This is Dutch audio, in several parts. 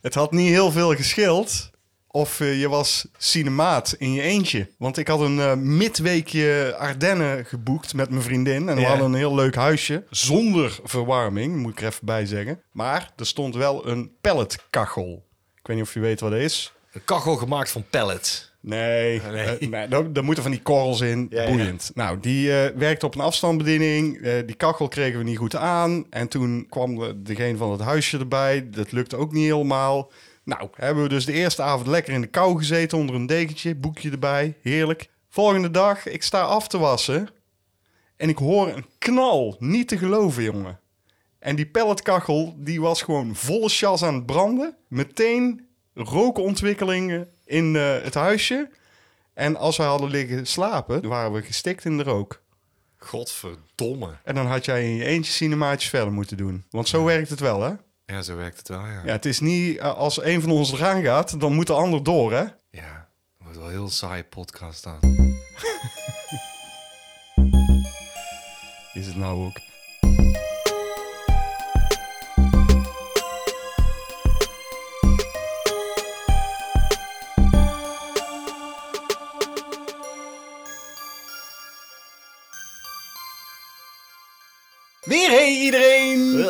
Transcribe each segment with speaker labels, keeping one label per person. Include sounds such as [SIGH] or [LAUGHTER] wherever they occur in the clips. Speaker 1: Het had niet heel veel geschild of eh, je was cinemaat in je eentje. Want ik had een eh, midweekje Ardennen geboekt met mijn vriendin. En we
Speaker 2: Ja.
Speaker 1: hadden een heel leuk huisje. Zonder verwarming, moet ik er even bij zeggen. Maar er stond wel een pelletkachel. Ik weet niet of je weet wat dat is.
Speaker 2: Een kachel gemaakt van pellets.
Speaker 1: Nee, eh,
Speaker 2: Nee.
Speaker 1: nee.
Speaker 2: [LAUGHS]
Speaker 1: daar, daar moeten van die korrels in.
Speaker 2: Ja, ja.
Speaker 1: Boeiend. Nou, die eh, werkte op een afstandsbediening. Eh, die kachel kregen we niet goed aan. En toen kwam de- degene van het huisje erbij. Dat lukte ook niet helemaal. Nou, hebben we dus de eerste avond lekker in de kou gezeten onder een dekentje, boekje erbij. Heerlijk. Volgende dag, ik sta af te wassen. En ik hoor een knal. Niet te geloven, jongen. En die pelletkachel, die was gewoon volle chas aan het branden. Meteen rookontwikkelingen in eh, het huisje. En als wij hadden liggen slapen, dan waren we gestikt in de rook.
Speaker 2: Godverdomme.
Speaker 1: En dan had jij in je eentje cinemaatjes verder moeten doen. Want zo werkt het wel, hè?
Speaker 2: Ja, zo werkt het wel, ja.
Speaker 1: Ja,
Speaker 2: Ja,
Speaker 1: het is niet eh, als een van ons eraan gaat, dan moet de ander door, hè?
Speaker 2: het wordt wel een heel saaie podcast dan.
Speaker 1: Is het nou
Speaker 2: [LAUGHS]
Speaker 1: ook.
Speaker 2: Weer hey iedereen!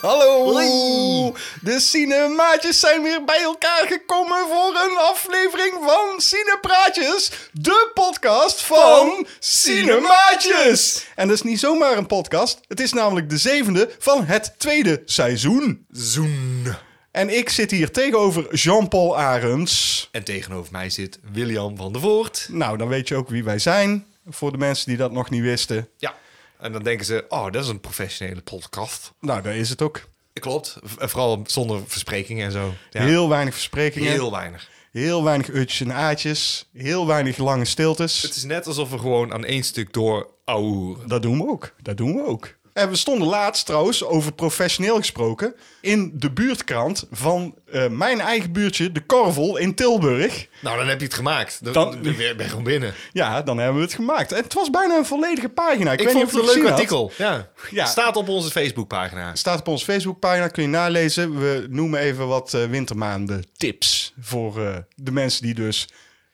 Speaker 1: Hallo!
Speaker 2: Hoi!
Speaker 1: De cinemaatjes zijn weer bij elkaar gekomen voor een aflevering van Cinepraatjes. De podcast van
Speaker 2: Van
Speaker 1: Cinemaatjes. En dat is niet zomaar een podcast. Het is namelijk de zevende van het tweede seizoen.
Speaker 2: Zoen.
Speaker 1: En ik zit hier tegenover Jean-Paul Arends.
Speaker 2: En tegenover mij zit William van der Voort.
Speaker 1: Nou, dan weet je ook wie wij zijn. Voor de mensen die dat nog niet wisten.
Speaker 2: Ja. En dan denken ze, oh, dat is een professionele podcast.
Speaker 1: Nou, daar is het ook.
Speaker 2: Klopt. V- Vooral zonder versprekingen en zo. Ja.
Speaker 1: Heel weinig versprekingen. Heel,
Speaker 2: Heel weinig.
Speaker 1: weinig utjes en aatjes. Heel weinig lange stiltes.
Speaker 2: Het is net alsof we gewoon aan één stuk door ouwe.
Speaker 1: Dat doen we ook. Dat doen we ook. En we stonden laatst trouwens, over professioneel gesproken, in de buurtkrant van eh, mijn eigen buurtje, De Korvel in Tilburg.
Speaker 2: Nou, dan heb je het gemaakt. Dan,
Speaker 1: Dan-
Speaker 2: ben je gewoon binnen.
Speaker 1: Ja, dan hebben we het gemaakt. En het was bijna een volledige pagina. Ik,
Speaker 2: Ik,
Speaker 1: weet
Speaker 2: vond
Speaker 1: niet
Speaker 2: het
Speaker 1: of
Speaker 2: een
Speaker 1: je
Speaker 2: leuk
Speaker 1: gezien had.
Speaker 2: artikel. Ja.
Speaker 1: Ja.
Speaker 2: Staat op onze Facebookpagina.
Speaker 1: Staat op onze Facebookpagina, kun je nalezen. We noemen even wat eh, wintermaanden tips voor eh, de mensen die dus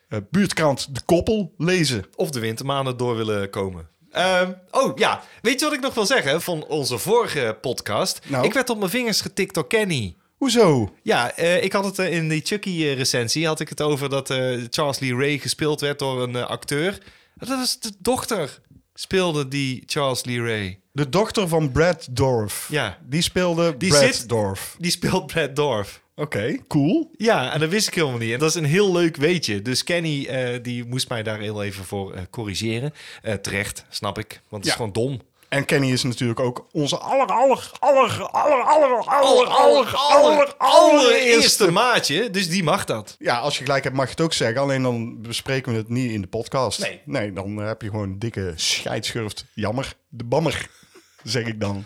Speaker 1: eh, buurtkrant De Koppel lezen.
Speaker 2: Of de wintermaanden door willen komen. Ehm, oh ja, weet je wat ik nog wil zeggen van onze vorige podcast?
Speaker 1: Nou?
Speaker 2: Ik werd op mijn vingers getikt door Kenny.
Speaker 1: Hoezo?
Speaker 2: Ja, eh, ik had het eh, in die Chucky-recensie had ik het over dat eh, Charles Lee Ray gespeeld werd door een eh, acteur. Dat was de dochter speelde die Charles Lee Ray.
Speaker 1: De dochter van Brad Dorf.
Speaker 2: Ja.
Speaker 1: Die speelde
Speaker 2: Die
Speaker 1: Brad
Speaker 2: zit-
Speaker 1: Dorf.
Speaker 2: Die speelt Brad Dorf.
Speaker 1: Oké, cool.
Speaker 2: Ja, en dat wist ik helemaal niet. En dat is een heel leuk weetje. Dus Kenny eh, die moest mij daar heel even voor eh, corrigeren. Eh, terecht, snap ik. Want het is
Speaker 1: Ja.
Speaker 2: gewoon dom.
Speaker 1: En Kenny is natuurlijk ook onze aller, aller, aller, aller, aller, aller, aller, aller, allereerste.
Speaker 2: allereerste maatje. Dus die mag dat.
Speaker 1: Ja, als je gelijk hebt mag je het ook zeggen. Alleen dan bespreken we het niet in de podcast.
Speaker 2: Nee.
Speaker 1: Nee, dan heb je gewoon een dikke scheidschurft. Jammer. De bammer, zeg ik dan. [LAUGHS]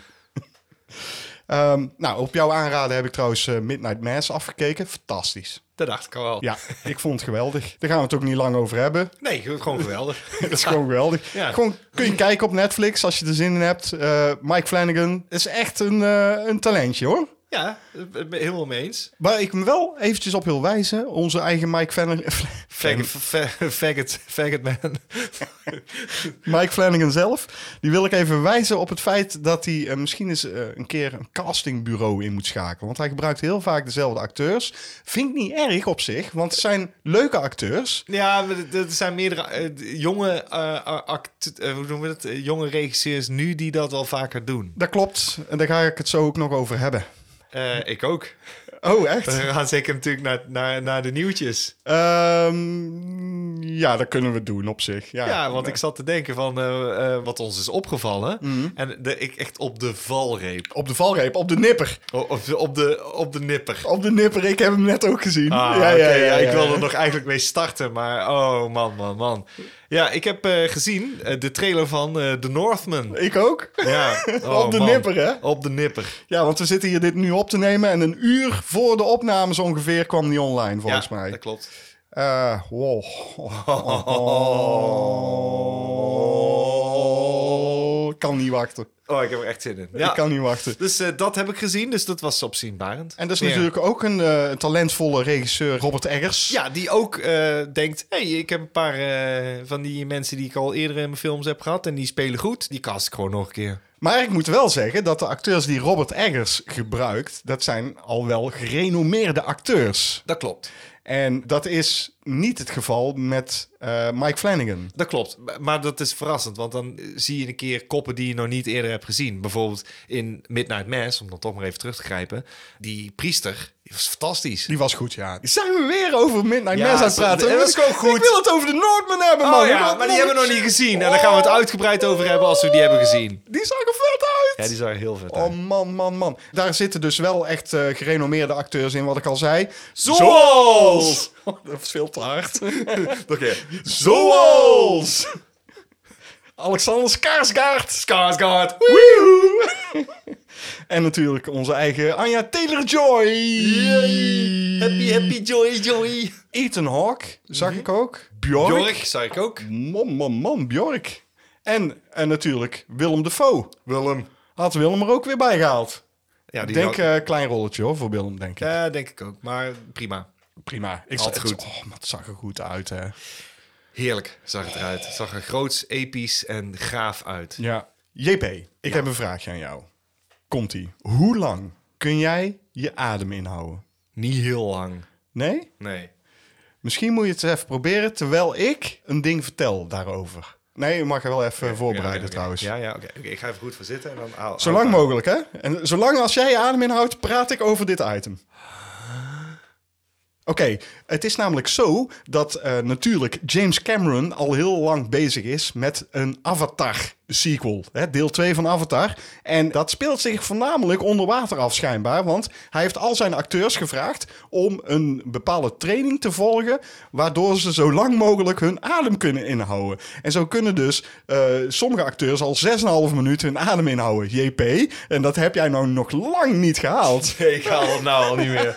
Speaker 1: Ehm, nou, op jouw aanraden heb ik trouwens eh, Midnight Mass afgekeken. Fantastisch.
Speaker 2: Dat dacht ik al wel.
Speaker 1: Ja, [LAUGHS] ik vond het geweldig. Daar gaan we het ook niet lang over hebben. [LAUGHS]
Speaker 2: Nee, gewoon geweldig.
Speaker 1: Het is gewoon geweldig.
Speaker 2: Ja.
Speaker 1: Gewoon kun je kijken op Netflix als je er zin in hebt. Eh, Mike Flanagan is echt een, eh, een talentje hoor.
Speaker 2: ja, eh, helemaal mee eens.
Speaker 1: Waar ik hem wel eventjes op wil wijzen, onze eigen Mike Flanagan, [LAUGHS]
Speaker 2: Faggot, fa- faggot, faggot man. [LAUGHS]
Speaker 1: Mike Flanagan zelf, die wil ik even wijzen op het feit dat hij eh, misschien eens eh, een keer een castingbureau in moet schakelen. Want hij gebruikt heel vaak dezelfde acteurs. Vind ik niet erg op zich, want het zijn leuke acteurs.
Speaker 2: Ja, maar d- er zijn meerdere eh, jonge, eh, act, eh, hoe noemen we dat? Eh, jonge regisseurs nu die dat wel vaker doen.
Speaker 1: Dat klopt, en daar ga ik het zo ook nog over hebben.
Speaker 2: Eh, ik ook. [LAUGHS]
Speaker 1: Oh, echt?
Speaker 2: We gaan zeker natuurlijk naar, naar, naar de nieuwtjes.
Speaker 1: Ehm, ja, dat kunnen we doen op zich. Ja, nou.
Speaker 2: Ja, want ik zat te denken van eh, eh, wat ons is opgevallen.
Speaker 1: Mhm.
Speaker 2: En de, ik echt op de valreep.
Speaker 1: Op de valreep, op de nipper.
Speaker 2: O- Op de, op de, op de nipper.
Speaker 1: Op de nipper, ik heb hem net ook gezien.
Speaker 2: Ah, oké, ja, ik wilde er nog eigenlijk mee starten, maar oh man, man, man. Ja, ik heb eh, gezien eh, de trailer van eh The Northman.
Speaker 1: Ik ook. [LAUGHS]
Speaker 2: Ja, oh,
Speaker 1: Op de nipper, hè?
Speaker 2: Op de nipper.
Speaker 1: Ja, want we zitten hier dit nu op te nemen en een uur voor de opnames ongeveer kwam die online volgens
Speaker 2: ja,
Speaker 1: mij.
Speaker 2: dat klopt.
Speaker 1: Eh, wow. kan niet wachten.
Speaker 2: Oh, ik heb er echt zin in. Ja.
Speaker 1: Ik kan niet wachten.
Speaker 2: Dus eh, dat heb ik gezien, dus dat was opzienbarend.
Speaker 1: En dat is
Speaker 2: Ja.
Speaker 1: natuurlijk ook een eh, talentvolle regisseur, Robert Eggers.
Speaker 2: Ja, die ook eh, denkt, hey, ik heb een paar eh, van die mensen die ik al eerder in mijn films heb gehad en die spelen goed, die cast ik gewoon nog een keer.
Speaker 1: Maar ik moet wel zeggen dat de acteurs die Robert Eggers gebruikt, dat zijn al wel gerenommeerde acteurs.
Speaker 2: Dat klopt.
Speaker 1: En dat is niet het geval met eh, Mike Flanagan.
Speaker 2: Dat klopt, M- maar dat is verrassend, want dan eh, zie je een keer koppen die je nog niet eerder hebt gezien. Bijvoorbeeld in Midnight Mass, om dan toch maar even terug te grijpen, die priester, die was fantastisch.
Speaker 1: Die was goed, ja. Zijn we weer over Midnight
Speaker 2: Ja,
Speaker 1: Mass aan het
Speaker 2: ze-
Speaker 1: praten?
Speaker 2: dat
Speaker 1: Ik
Speaker 2: is
Speaker 1: wil-
Speaker 2: ook goed.
Speaker 1: Ik wil het over de Noordman hebben, man.
Speaker 2: Oh
Speaker 1: Ik wil-
Speaker 2: ja, maar Oh. die hebben we nog niet gezien en daar gaan we het uitgebreid over hebben als we die hebben gezien.
Speaker 1: Die zag er vet uit.
Speaker 2: Ja, die zag er heel vet uit.
Speaker 1: Oh man, man, man. Daar zitten dus wel echt eh, gerenommeerde acteurs in, wat ik al zei.
Speaker 2: Oh. Zoals!
Speaker 1: Dat is veel te hard.
Speaker 2: [LAUGHS] Oké. [LAUGHS]
Speaker 1: Zoals! Alexander Skaarsgaard.
Speaker 2: Skarsgård.
Speaker 1: Woehoe! [LAUGHS] en natuurlijk onze eigen Anja Taylor-Joy.
Speaker 2: Happy, happy, joy, joy.
Speaker 1: Ethan Hawke zag
Speaker 2: Mhm.
Speaker 1: ik ook. Bjork.
Speaker 2: Jorg, zei ik ook.
Speaker 1: Man, man, man, Bjork. En, en natuurlijk Willem Dafoe.
Speaker 2: Willem.
Speaker 1: Had Willem er ook weer bij gehaald.
Speaker 2: Ja, die
Speaker 1: denk,
Speaker 2: had-
Speaker 1: eh klein rolletje hoor, voor Willem, denk ik.
Speaker 2: Ja, denk ik ook. Maar prima.
Speaker 1: Prima. Ik
Speaker 2: Altijd
Speaker 1: zag-
Speaker 2: goed.
Speaker 1: Oh, maar het zag er goed uit, hè.
Speaker 2: Heerlijk zag het eruit. Het zag er groots, episch en gaaf uit.
Speaker 1: Ja. JP, ik heb een vraagje aan jou. Komt-ie. Hoe lang kun jij je adem inhouden?
Speaker 2: Niet heel lang.
Speaker 1: Nee?
Speaker 2: Nee.
Speaker 1: Misschien moet je het eens even proberen terwijl ik een ding vertel daarover. Nee, je mag er wel even voorbereiden
Speaker 2: Ja, oké, oké.
Speaker 1: trouwens.
Speaker 2: Ja, ja, oké. Oké, ik ga even goed voor zitten en dan... haal-
Speaker 1: Zo lang
Speaker 2: haal-
Speaker 1: mogelijk, hè? En zolang als jij je adem inhoudt, praat ik over dit item. Oké, het is namelijk zo dat eh, natuurlijk James Cameron al heel lang bezig is met een Avatar-sequel. hè, Deel 2 van Avatar. En dat speelt zich voornamelijk onder water af schijnbaar. Want hij heeft al zijn acteurs gevraagd om een bepaalde training te volgen... waardoor ze zo lang mogelijk hun adem kunnen inhouden. En zo kunnen dus eh, sommige acteurs al 6,5 minuten hun adem inhouden. JP, en dat heb jij nou nog lang niet gehaald.
Speaker 2: [LAUGHS] Nee, ik haal het nou al niet meer.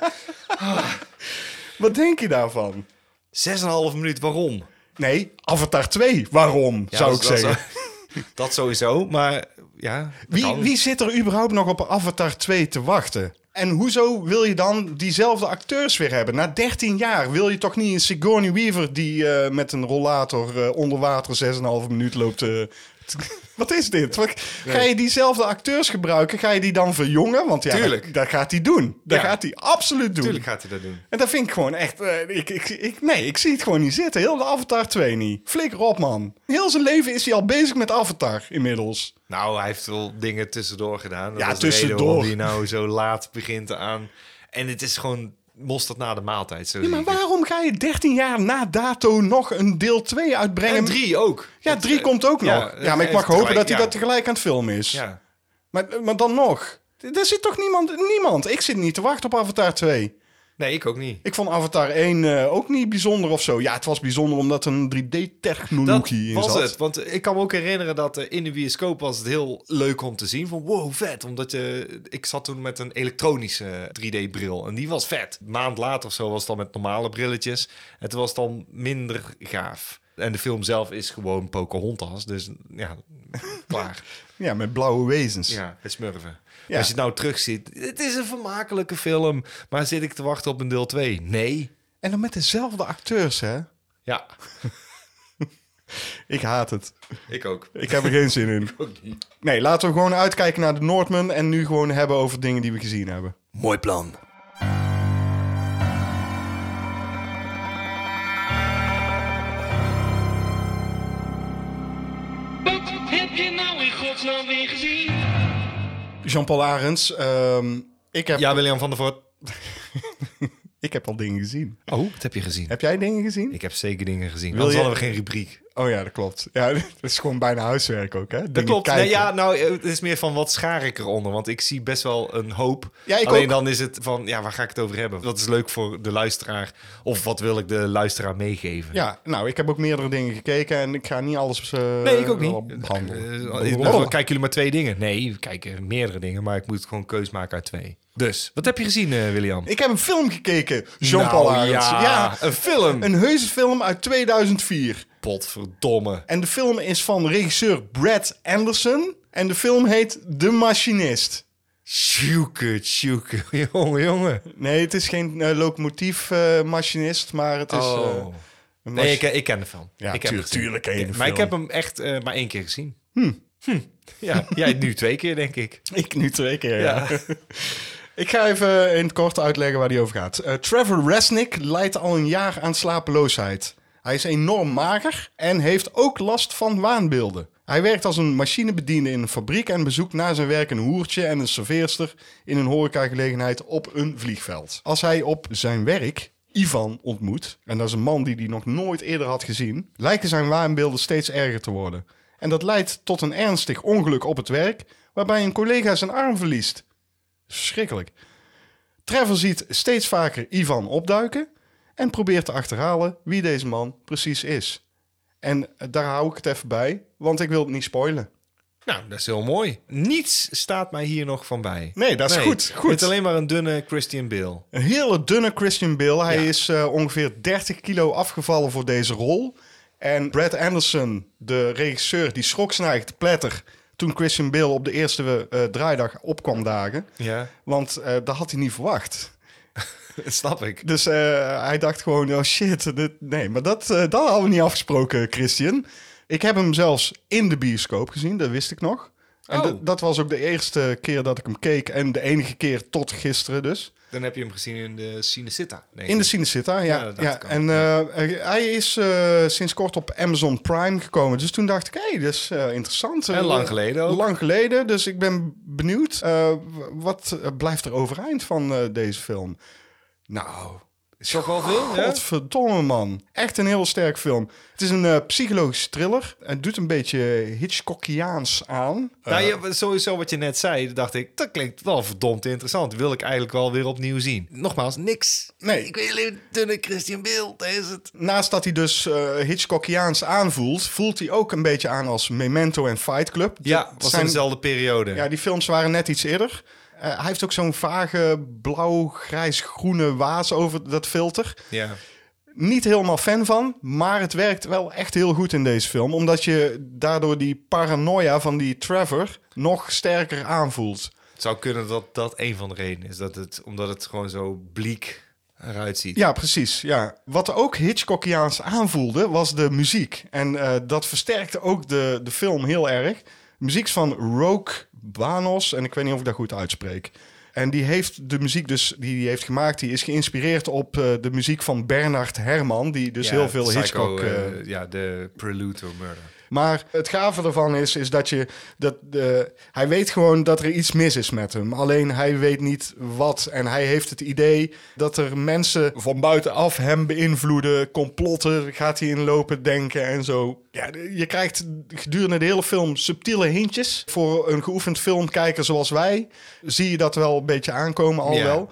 Speaker 1: Wat denk je daarvan?
Speaker 2: Zes en een half minuut, waarom?
Speaker 1: Nee, Avatar 2. Waarom, zou
Speaker 2: dat-
Speaker 1: ik
Speaker 2: dat-
Speaker 1: zeggen.
Speaker 2: [LAUGHS] Dat sowieso, maar ja... dat
Speaker 1: Wie,
Speaker 2: kan.
Speaker 1: wie zit er überhaupt nog op Avatar 2 te wachten? En hoezo wil je dan diezelfde acteurs weer hebben? Na 13 jaar wil je toch niet een Sigourney Weaver... die eh, met een rollator eh, onder water 6,5 minuut loopt... eh, t- [LAUGHS] wat is dit? Wat- Ga je diezelfde acteurs gebruiken? Ga je die dan verjongen? Want ja,
Speaker 2: Tuurlijk.
Speaker 1: Dat, dat gaat hij doen. Dat
Speaker 2: Ja.
Speaker 1: gaat hij absoluut doen.
Speaker 2: Tuurlijk gaat hij dat doen.
Speaker 1: En dat vind ik gewoon echt... eh, ik, ik, ik, nee, ik zie het gewoon niet zitten. Heel de Avatar 2 niet. Flikker op, man. Heel zijn leven is hij al bezig met Avatar inmiddels.
Speaker 2: Nou, hij heeft wel dingen tussendoor gedaan. Dat
Speaker 1: Ja,
Speaker 2: is de reden
Speaker 1: tussendoor.
Speaker 2: waarom hij nou zo laat begint aan. En het is gewoon mosterd na de maaltijd. Zo
Speaker 1: Ja, maar waarom ga je 13 jaar na dato nog een deel 2 uitbrengen?
Speaker 2: En drie ook. eh,
Speaker 1: Ja, drie komt ook nog.
Speaker 2: ja,
Speaker 1: Ja, maar
Speaker 2: dat is
Speaker 1: ik mag
Speaker 2: tegelijk,
Speaker 1: hopen dat hij
Speaker 2: ja.
Speaker 1: dat tegelijk aan het filmen is.
Speaker 2: Ja.
Speaker 1: Maar, maar dan nog. Er zit toch niemand, niemand? Ik zit niet te wachten op Avatar 2.
Speaker 2: Nee, ik ook niet.
Speaker 1: Ik vond Avatar 1 eh, ook niet bijzonder of zo. Ja, het was bijzonder omdat er een 3D-technologie
Speaker 2: Dat
Speaker 1: in
Speaker 2: was
Speaker 1: zat.
Speaker 2: het. Want ik kan me ook herinneren dat eh, in de bioscoop was het heel leuk om te zien. Van wow, vet. Omdat je, ik zat toen met een elektronische 3D-bril. En die was vet. Een maand later of zo was het dan met normale brilletjes. En toen was het dan minder gaaf. En de film zelf is gewoon Pocahontas. Dus ja, [LAUGHS] klaar.
Speaker 1: Ja, met blauwe wezens.
Speaker 2: Ja, het smurven.
Speaker 1: Ja.
Speaker 2: Als je het nou terugziet, het is een vermakelijke film. Maar zit ik te wachten op een deel 2? Nee.
Speaker 1: En dan met dezelfde acteurs, hè?
Speaker 2: Ja,
Speaker 1: Ik haat het.
Speaker 2: ik ook.
Speaker 1: Ik heb er geen zin in.
Speaker 2: Ook niet.
Speaker 1: Nee, laten we gewoon uitkijken naar de Noordman... en nu gewoon hebben over dingen die we gezien hebben.
Speaker 2: Mooi plan.
Speaker 3: Wat heb je nou in godsnaam weer gezien?
Speaker 1: Jean-Paul Arends, ehm, ik, heb,
Speaker 2: Ja, William van der Voort.
Speaker 1: ik heb al dingen gezien.
Speaker 2: Oh, wat heb je gezien?
Speaker 1: Heb jij dingen gezien?
Speaker 2: Ik heb zeker dingen gezien.
Speaker 1: Wil
Speaker 2: Anders
Speaker 1: je-
Speaker 2: hadden we geen rubriek.
Speaker 1: Oh ja, dat klopt. Ja, [LAUGHS] dat is gewoon bijna huiswerk ook, hè?
Speaker 2: Dat
Speaker 1: Dingen
Speaker 2: klopt. Nee,
Speaker 1: kijken.
Speaker 2: ja, nou, eh, het is meer van wat schaar ik eronder? Want ik zie best wel een hoop.
Speaker 1: Ja, ik
Speaker 2: Alleen
Speaker 1: ook.
Speaker 2: dan is het van, ja, waar ga ik het over hebben? Wat is leuk voor de luisteraar? Of wat wil ik de luisteraar meegeven?
Speaker 1: Ja, nou, ik heb ook meerdere dingen gekeken en ik ga niet alles eh,
Speaker 2: Nee, ik ook
Speaker 1: wel
Speaker 2: niet.
Speaker 1: behandelen. oh.
Speaker 2: Eh, eh,
Speaker 1: Blablabla.
Speaker 2: kijken jullie maar twee dingen? Nee, we kijken meerdere dingen, maar ik moet gewoon keus maken uit twee. Dus, wat heb je gezien, eh, William?
Speaker 1: Ik heb een film gekeken, Jean-Paul
Speaker 2: Nou,
Speaker 1: Arends.
Speaker 2: Ja,
Speaker 1: Ja,
Speaker 2: een film.
Speaker 1: een heuse film uit 2004.
Speaker 2: potverdomme.
Speaker 1: En de film is van regisseur Brad Anderson. En de film heet De Machinist.
Speaker 2: Sjoeke, sjoeke. [LAUGHS] Jongen, jongen.
Speaker 1: Nee, het is geen eh, locomotief eh, machinist, maar het is...
Speaker 2: Oh.
Speaker 1: eh, een
Speaker 2: Nee,
Speaker 1: machi-
Speaker 2: ik, ik ken de film.
Speaker 1: Ja,
Speaker 2: ik heb hem
Speaker 1: tuurlijk-
Speaker 2: gezien.
Speaker 1: tuurlijk ken je de
Speaker 2: Maar
Speaker 1: film.
Speaker 2: ik heb hem echt eh, maar één keer gezien. Hm. Ja, jij nu twee keer, denk ik.
Speaker 1: Ik nu twee keer, ja.
Speaker 2: Ja. [LAUGHS]
Speaker 1: Ik ga even in het kort uitleggen waar die over gaat. Eh, Trevor Resnick lijdt al een jaar aan slapeloosheid. Hij is enorm mager en heeft ook last van waanbeelden. Hij werkt als een machinebediende in een fabriek en bezoekt na zijn werk een hoertje en een serveerster in een horecagelegenheid op een vliegveld. Als hij op zijn werk Ivan ontmoet, en dat is een man die hij nog nooit eerder had gezien, lijken zijn waanbeelden steeds erger te worden. En dat leidt tot een ernstig ongeluk op het werk, waarbij een collega zijn arm verliest. Schrikkelijk. Trevor ziet steeds vaker Ivan opduiken en probeert te achterhalen wie deze man precies is. En eh, daar hou ik het even bij, want ik wil het niet spoilen.
Speaker 2: Nou, dat is heel mooi. Niets staat mij hier nog van bij.
Speaker 1: Nee, dat is goed, goed.
Speaker 2: Het is alleen maar een dunne Christian Bale.
Speaker 1: Een hele dunne Christian Bale. Hij
Speaker 2: Ja.
Speaker 1: is eh, ongeveer 30 kilo afgevallen voor deze rol. En Brad Anderson, de regisseur, die schrok zijn eigen te pletter toen Christian Bale op de eerste eh, draaidag opkwam dagen.
Speaker 2: Ja,
Speaker 1: Want eh dat had hij niet verwacht.
Speaker 2: dat [LAUGHS] snap ik.
Speaker 1: Dus eh, hij dacht gewoon, oh shit, dit- nee, maar dat, eh, dat hadden we niet afgesproken, Christian. Ik heb hem zelfs in de bioscoop gezien, dat wist ik nog. En
Speaker 2: Oh.
Speaker 1: dat- dat was ook de eerste keer dat ik hem keek en de enige keer tot gisteren dus.
Speaker 2: Dan heb je hem gezien in de Cinecitta. denk
Speaker 1: In de
Speaker 2: ik.
Speaker 1: Cinecitta, ja.
Speaker 2: Ja,
Speaker 1: ja,
Speaker 2: dat dacht ik al.
Speaker 1: En eh, hij is eh, sinds kort op Amazon Prime gekomen. Dus toen dacht ik, hé, hey, dat is eh, interessant.
Speaker 2: En lang geleden ook.
Speaker 1: Lang geleden, dus ik ben benieuwd. eh, w- wat eh, blijft er overeind van eh, deze film? Nou,
Speaker 2: Is toch wel veel, hè?
Speaker 1: Godverdomme, man. Echt een heel sterk film. Het is een eh, psychologische thriller. Het doet een beetje Hitchcockiaans aan. Eh,
Speaker 2: Nou, je- sowieso wat je net zei, dacht ik, dat klinkt wel verdomd interessant. Wil ik eigenlijk wel weer opnieuw zien. Nogmaals, niks.
Speaker 1: Nee.
Speaker 2: Ik weet alleen dunne Christian Bale, dat is het.
Speaker 1: Naast dat hij dus eh, Hitchcockiaans aanvoelt... voelt hij ook een beetje aan als Memento en Fight Club.
Speaker 2: Ja,
Speaker 1: Dat
Speaker 2: was in dezelfde periode.
Speaker 1: ja die films waren net iets eerder. Eh, hij heeft ook zo'n vage blauw-grijs-groene waas over dat filter.
Speaker 2: ja.
Speaker 1: Niet helemaal fan van, maar het werkt wel echt heel goed in deze film. Omdat je daardoor die paranoia van die Trevor nog sterker aanvoelt.
Speaker 2: Het zou kunnen dat dat een van de redenen is. Dat het, omdat het gewoon zo bleek eruit ziet.
Speaker 1: Ja, precies. Ja. Wat ook Hitchcockiaans aanvoelde, was de muziek. En eh, dat versterkte ook de, de film heel erg. De muziek is van Rogue Banos, en ik weet niet of ik dat goed uitspreek. En die heeft de muziek dus, die hij heeft gemaakt, die is geïnspireerd op eh, de muziek van Bernard Herrmann, die dus
Speaker 2: Ja,
Speaker 1: heel veel
Speaker 2: Psycho,
Speaker 1: Hitchcock... eh,
Speaker 2: eh, ja, de Prelude to Murder.
Speaker 1: Maar het gave ervan is, is dat je. Dat, eh, hij weet gewoon dat er iets mis is met hem. Alleen hij weet niet wat. En hij heeft het idee dat er mensen van buitenaf hem beïnvloeden. Complotten gaat hij inlopen denken en zo. Ja, je krijgt gedurende de hele film subtiele hintjes. Voor een geoefend filmkijker zoals wij zie je dat wel een beetje aankomen al
Speaker 2: Ja.
Speaker 1: wel.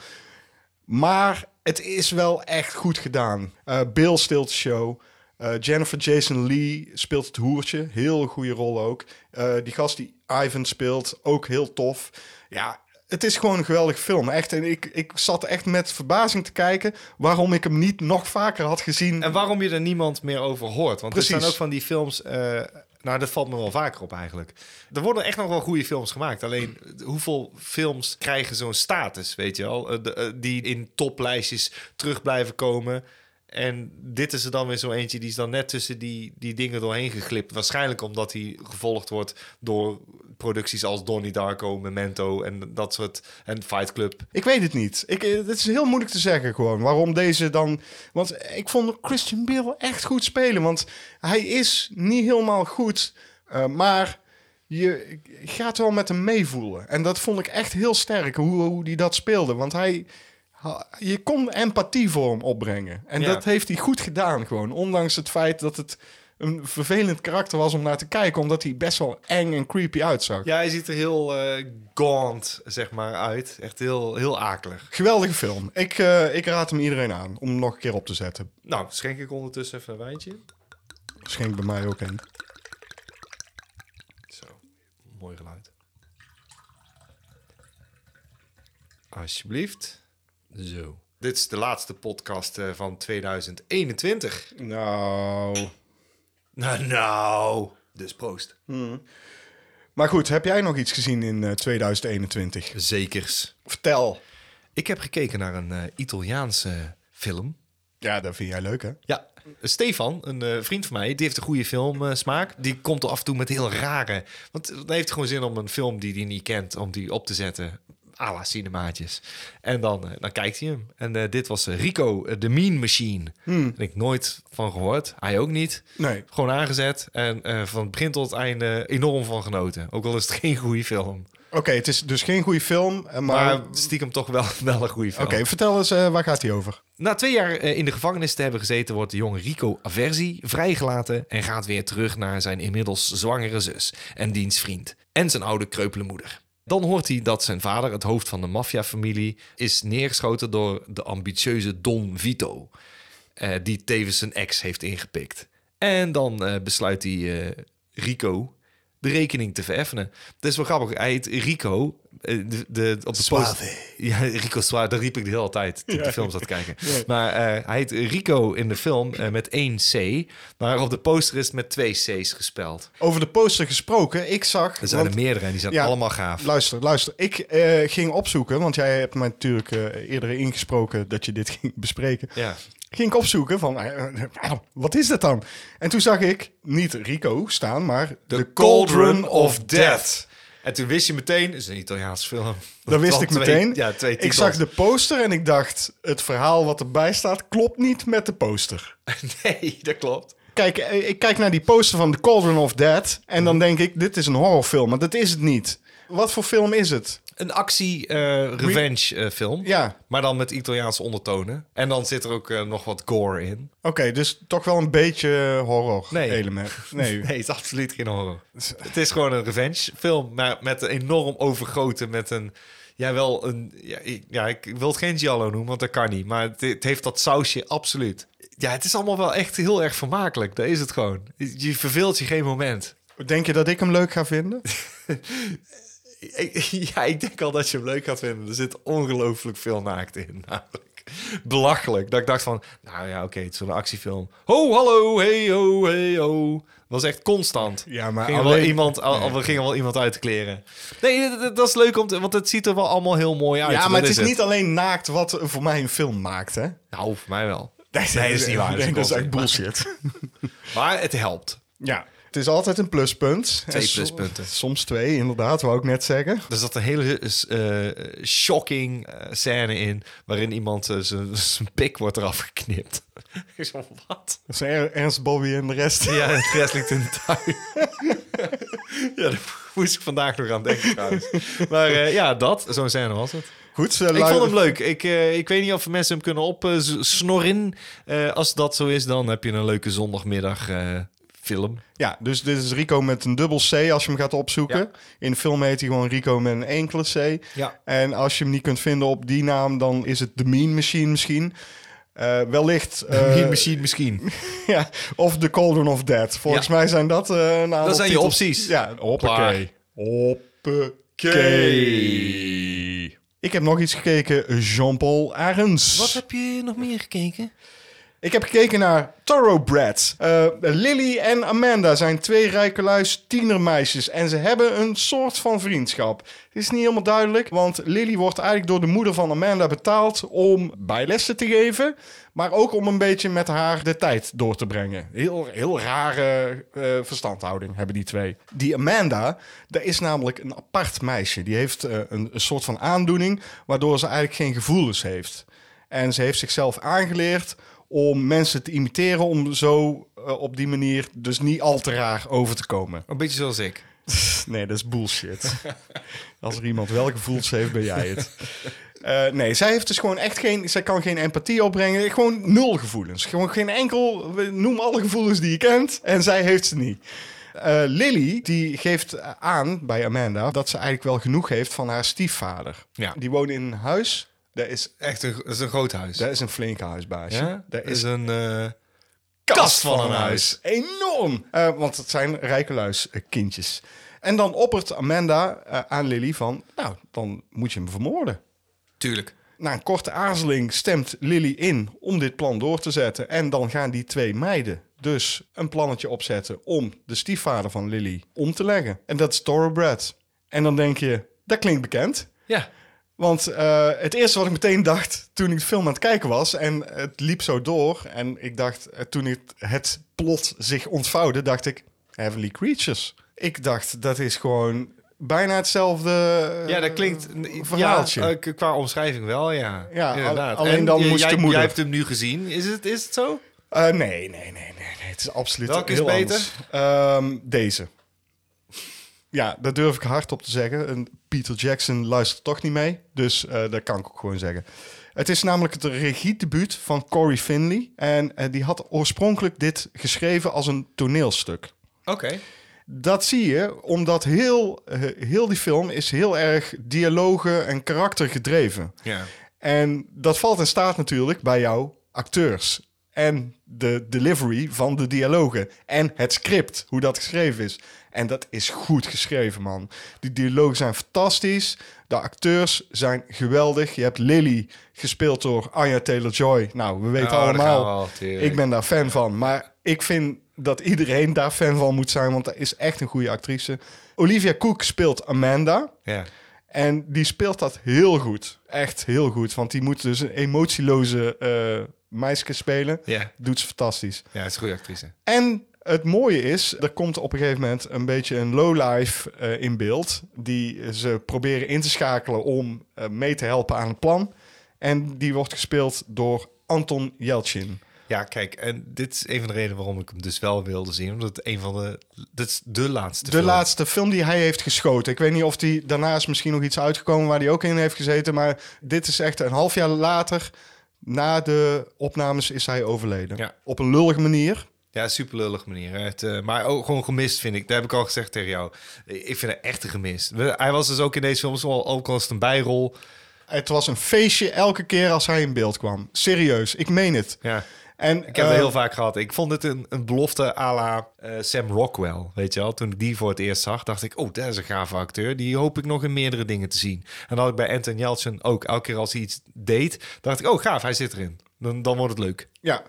Speaker 1: Maar het is wel echt goed gedaan. Eh Bill stilt de show. Eh, Jennifer Jason Lee speelt het hoertje. Heel goede rol ook. Eh, die gast die Ivan speelt, ook heel tof. Ja, het is gewoon een geweldige film. Echt, en ik, ik zat echt met verbazing te kijken... waarom ik hem niet nog vaker had gezien.
Speaker 2: En waarom je er niemand meer over hoort. Want er
Speaker 1: Precies.
Speaker 2: zijn ook van die films... eh, nou, dat valt me wel vaker op eigenlijk. Er worden echt nog wel goede films gemaakt. Alleen, hoeveel films krijgen zo'n status, weet je wel? Eh, de- eh, die in toplijstjes terug blijven komen. En dit is er dan weer zo eentje... die is dan net tussen die, die dingen doorheen geglipt. Waarschijnlijk omdat hij gevolgd wordt door producties als Donnie Darko, Memento... en dat soort... en Fight Club.
Speaker 1: Ik weet het niet. Ik, eh, het is heel moeilijk te zeggen gewoon waarom deze dan... Want ik vond Christian Bale echt goed spelen. Want hij is niet helemaal goed. eh, maar je gaat wel met hem meevoelen. En dat vond ik echt heel sterk hoe, hoe die dat speelde. Want hij... ha- Je kon empathie voor hem opbrengen. En
Speaker 2: Ja.
Speaker 1: dat heeft hij goed gedaan gewoon. Ondanks het feit dat het een vervelend karakter was om naar te kijken. Omdat hij best wel eng en creepy uitzag.
Speaker 2: Ja, hij ziet er heel eh gaunt, zeg maar, uit. Echt heel, heel akelig.
Speaker 1: Geweldige film. Ik, eh, ik raad hem iedereen aan om hem nog een keer op te zetten.
Speaker 2: Nou, schenk ik ondertussen even een wijntje.
Speaker 1: Schenk bij mij ook een.
Speaker 2: Zo, mooi geluid. Alsjeblieft. Zo. Dit is de laatste podcast eh, van 2021.
Speaker 1: Nou.
Speaker 2: Nou, nou. Dus proost.
Speaker 1: Maar goed, heb jij nog iets gezien in eh, 2021?
Speaker 2: Zekers.
Speaker 1: Vertel.
Speaker 2: Ik heb gekeken naar een eh, Italiaanse film.
Speaker 1: Ja, dat vind jij leuk, hè?
Speaker 2: Ja, Stefan, een eh, vriend van mij, die heeft een goede filmsmaak. die komt er af en toe met heel rare... Want dan heeft hij gewoon zin om een film die hij niet kent... om die op te zetten, à la cinemaatjes. En dan, eh, dan kijkt hij hem. En eh, dit was eh, Rico, eh, The Mean Machine. En ik nooit van gehoord. Hij ook niet.
Speaker 1: Hmm. Nee.
Speaker 2: Gewoon aangezet en eh, van het begin tot het einde enorm van genoten. Ook al is het [LAUGHS] geen goede film.
Speaker 1: Oké, het is dus geen goede film, eh, maar...
Speaker 2: Maar stiekem toch wel, [LAUGHS] wel een goede film.
Speaker 1: Oké, vertel eens, eh, waar gaat die over?
Speaker 2: Na twee jaar eh, in de gevangenis te hebben gezeten, wordt de jonge Rico Aversi vrijgelaten en gaat weer terug naar zijn inmiddels zwangere zus en diens vriend en zijn oude kreupele moeder. Dan hoort hij dat zijn vader, het hoofd van de maffiafamilie, is neergeschoten door de ambitieuze Don Vito, eh, die tevens zijn ex heeft ingepikt. En dan eh, besluit hij eh, Rico de rekening te vereffenen. Dat is wel grappig. Hij heet Rico. eh, De, de, op de
Speaker 1: Suave.
Speaker 2: poster- ja, [LAUGHS] Rico Suave, dat riep ik de hele tijd toen ik de film zat te kijken. Maar eh, hij heet Rico in de film eh, met één C, maar op de poster is het met twee C's gespeld.
Speaker 1: Over de poster gesproken, ik zag...
Speaker 2: Er zijn
Speaker 1: want-
Speaker 2: er meerdere en die zijn
Speaker 1: Ja,
Speaker 2: allemaal gaaf.
Speaker 1: Luister, luister. Ik eh, ging opzoeken, want jij hebt mij natuurlijk eh, eerder ingesproken dat je dit [LAUGHS] ging bespreken.
Speaker 2: Ja.
Speaker 1: Ging ik opzoeken van, eh, eh, wat is dat dan? En toen zag ik niet Rico staan, maar
Speaker 2: The Cauldron of Death. En toen wist je meteen, het is een Italiaans film.
Speaker 1: Dat wist
Speaker 2: [LAUGHS] Van
Speaker 1: ik
Speaker 2: twee-
Speaker 1: meteen.
Speaker 2: Ja, twee
Speaker 1: ik
Speaker 2: titels.
Speaker 1: zag de poster en ik dacht, het verhaal wat erbij staat klopt niet met de poster.
Speaker 2: [LAUGHS] Nee, dat klopt.
Speaker 1: Kijk, eh, ik kijk naar die poster van The Cauldron of Death en dan denk ik, dit is een horrorfilm, maar dat is het niet. Wat voor film is het?
Speaker 2: Een eh, actie-revenge-film.
Speaker 1: Ja,
Speaker 2: eh, Maar dan met Italiaanse ondertonen. En dan zit er ook eh, nog wat gore in.
Speaker 1: oké, dus toch wel een beetje eh, horror
Speaker 2: Nee. [LAUGHS]
Speaker 1: element. Nee. Dus-
Speaker 2: Nee, het is absoluut geen horror. Het is gewoon een revenge film, maar met een enorm overgroten met een... Ja, wel een... Ja, ik- ja, ik wil het geen giallo noemen, want dat kan niet. Maar het, het heeft dat sausje, absoluut. Ja, het is allemaal wel echt heel erg vermakelijk. Dat is het gewoon. Je verveelt je geen moment.
Speaker 1: Denk je dat ik hem leuk ga vinden?
Speaker 2: Ik- [LAUGHS] Ja, ik denk al dat je hem leuk gaat vinden. Er zit ongelooflijk veel naakt in, [LAUGHS] namelijk. Belachelijk. Dat ik dacht van, nou ja, oké, het is zo'n actiefilm. Ho, hallo, hey, ho, hey, ho. was echt constant.
Speaker 1: Ja, maar
Speaker 2: Ging er
Speaker 1: alleen-
Speaker 2: wel iemand, al, al- we gingen wel iemand uit de kleren. Nee, dat- dat, dat is leuk om te... Want het ziet er wel allemaal heel mooi uit.
Speaker 1: ja,
Speaker 2: Dat
Speaker 1: maar het is niet alleen naakt wat voor mij een film maakt, hè?
Speaker 2: Nou, voor mij wel.
Speaker 1: Nee, dat
Speaker 2: is niet waar. Dat is
Speaker 1: Nee, dat is
Speaker 2: onzin.
Speaker 1: echt bullshit.
Speaker 2: Maar het helpt.
Speaker 1: Ja. Het is altijd een pluspunt.
Speaker 2: Twee
Speaker 1: En so-
Speaker 2: pluspunten.
Speaker 1: Soms twee, inderdaad, wou ik net zeggen.
Speaker 2: Er zat een hele eh, shocking eh, scène in... waarin iemand eh, zijn- [LAUGHS] zijn pik wordt eraf geknipt. [LAUGHS] Ik zo, wat?
Speaker 1: Dat zijn Er- Ernst, Bobby en de rest.
Speaker 2: Ja, het rest ligt in de tuin. [LAUGHS] ja, daar moest ik vandaag nog aan denken trouwens. Maar eh, ja, dat, zo'n scène was het.
Speaker 1: Goed, eh,
Speaker 2: Ik
Speaker 1: lui-
Speaker 2: vond hem leuk. Ik, eh, ik weet niet of mensen hem kunnen eh, opsnorren. Eh, als dat zo is, dan heb je een leuke zondagmiddag eh, film.
Speaker 1: Ja, dus dit is Rico met een dubbel C als je hem gaat opzoeken.
Speaker 2: Ja.
Speaker 1: In de film heet hij gewoon Rico met een enkele C.
Speaker 2: Ja.
Speaker 1: En als je hem niet kunt vinden op die naam, dan is het The Mean Machine misschien. Eh, wellicht. eh,
Speaker 2: Misschien, misschien, misschien.
Speaker 1: [LAUGHS] ja, of The Cauldron of Dead. Volgens
Speaker 2: Ja.
Speaker 1: mij zijn dat eh, een aantal
Speaker 2: Dat zijn je
Speaker 1: titels.
Speaker 2: opties.
Speaker 1: Ja, hoppakee.
Speaker 2: Klaar.
Speaker 1: Hoppakee. Ik heb nog iets gekeken, Jean-Paul Arends.
Speaker 2: Wat heb je nog meer gekeken?
Speaker 1: Ik heb gekeken naar Thoroughbreds. Eh, Lily en Amanda zijn twee rijke luis tienermeisjes en ze hebben een soort van vriendschap. Het is niet helemaal duidelijk, want Lily wordt eigenlijk door de moeder van Amanda betaald om bijlessen te geven, maar ook om een beetje met haar de tijd door te brengen. Heel, heel rare eh, verstandhouding hebben die twee. Die Amanda, dat is namelijk een apart meisje. Die heeft eh, een, een soort van aandoening waardoor ze eigenlijk geen gevoelens heeft. En ze heeft zichzelf aangeleerd om mensen te imiteren, om zo eh, op die manier dus niet al te raar over te
Speaker 2: [LAUGHS]
Speaker 1: komen.
Speaker 2: Een beetje zoals ik.
Speaker 1: Nee, dat is bullshit. [LAUGHS] Als er iemand wel gevoelens heeft, ben jij het. Eh, nee, zij heeft dus gewoon echt geen, zij kan geen empathie opbrengen, gewoon nul gevoelens. Gewoon geen enkel, noem alle gevoelens die je kent en zij heeft ze niet. Eh, Lily, die geeft aan bij Amanda dat ze eigenlijk wel genoeg heeft van haar stiefvader.
Speaker 2: Ja.
Speaker 1: Die woont in een huis, dat is,
Speaker 2: Echt, een, dat is een groot huis.
Speaker 1: dat is een flinke huisbaasje.
Speaker 2: ja?
Speaker 1: Dat
Speaker 2: is
Speaker 1: is
Speaker 2: een eh,
Speaker 1: kast van een huis. Enorm! Eh, want het zijn rijke luis eh, kindjes. En dan oppert Amanda eh, aan Lily van... nou, dan moet je hem vermoorden.
Speaker 2: Tuurlijk.
Speaker 1: Na een korte aarzeling stemt Lily in om dit plan door te zetten. En dan gaan die twee meiden, dus een plannetje opzetten om de stiefvader van Lily om te leggen. En dat is Thoroughbred. En dan denk je, dat klinkt bekend.
Speaker 2: Ja.
Speaker 1: Want eh, het eerste wat ik meteen dacht toen ik de film aan het kijken was... en het liep zo door en ik dacht, eh, toen het, het plot zich ontvouwde... dacht ik, Heavenly Creatures. Ik dacht, dat is gewoon bijna hetzelfde eh,
Speaker 2: Ja, dat klinkt een
Speaker 1: verhaaltje.
Speaker 2: Ja, eh, k- qua omschrijving wel, ja.
Speaker 1: Ja,
Speaker 2: inderdaad.
Speaker 1: al- alleen dan
Speaker 2: je-
Speaker 1: moest
Speaker 2: jij,
Speaker 1: de moeder.
Speaker 2: Jij hebt hem nu gezien. Is het, is het zo?
Speaker 1: Eh, nee, nee, nee, nee, nee. Het is absoluut
Speaker 2: Welke is
Speaker 1: heel
Speaker 2: beter?
Speaker 1: anders. Ehm, deze. Ja, dat durf ik hardop te zeggen. En Peter Jackson luistert toch niet mee. Dus eh, dat kan ik ook gewoon zeggen. Het is namelijk het regiedebuut van Corey Finley. En eh, die had oorspronkelijk dit geschreven als een toneelstuk.
Speaker 2: Oké.
Speaker 1: Dat zie je omdat heel, eh, heel die film is heel erg dialogen en karakter gedreven.
Speaker 2: Ja.
Speaker 1: En dat valt in staat natuurlijk bij jouw acteurs. En de delivery van de dialogen. En het script, hoe dat geschreven is. En dat is goed geschreven, man. Die dialogen zijn fantastisch. De acteurs zijn geweldig. Je hebt Lily, gespeeld door Anya Taylor-Joy. Nou, we weten
Speaker 2: Oh, daar gaan we
Speaker 1: allemaal,
Speaker 2: al, tuurlijk.
Speaker 1: ik ben daar fan van. Maar ik vind dat iedereen daar fan van moet zijn... want dat is echt een goede actrice. Olivia Cook speelt Amanda...
Speaker 2: Ja.
Speaker 1: En die speelt dat heel goed. Echt heel goed. Want die moet dus een emotieloze eh meisje spelen.
Speaker 2: Ja.
Speaker 1: Doet ze fantastisch.
Speaker 2: Ja, het is een goede actrice.
Speaker 1: En het mooie is, er komt op een gegeven moment een beetje een lowlife eh in beeld. Die ze proberen in te schakelen om eh, mee te helpen aan het plan. En die wordt gespeeld door Anton Yelchin.
Speaker 2: Ja, kijk, en dit is een van de redenen waarom ik hem dus wel wilde zien. Omdat het een van de... Dit is de laatste
Speaker 1: De
Speaker 2: film.
Speaker 1: laatste film die hij heeft geschoten. Ik weet niet of die daarnaast misschien nog iets uitgekomen waar hij ook in heeft gezeten. Maar dit is echt een half jaar later. Na de opnames is hij overleden.
Speaker 2: Ja.
Speaker 1: Op een lullige manier.
Speaker 2: Ja, super lullig manier. Hij heeft, eh, maar ook gewoon gemist, vind ik. Dat heb ik al gezegd tegen jou. Ik vind het echt een gemist. We- Hij was dus ook in deze film, zoal- ook al als het een bijrol.
Speaker 1: Het was een feestje elke keer als hij in beeld kwam. Serieus, ik meen het.
Speaker 2: Ja.
Speaker 1: En,
Speaker 2: Ik heb het
Speaker 1: eh,
Speaker 2: heel vaak gehad. Ik vond het een, een belofte à la eh, Sam Rockwell. Weet je wel? Toen ik die voor het eerst zag, dacht ik... Oh, dat is een gave acteur. Die hoop ik nog in meerdere dingen te zien. En dat had ik bij Anton Yelchin ook. Elke keer als hij iets deed, dacht ik... Oh, gaaf, hij zit erin. Dan, dan wordt het leuk.
Speaker 1: Ja,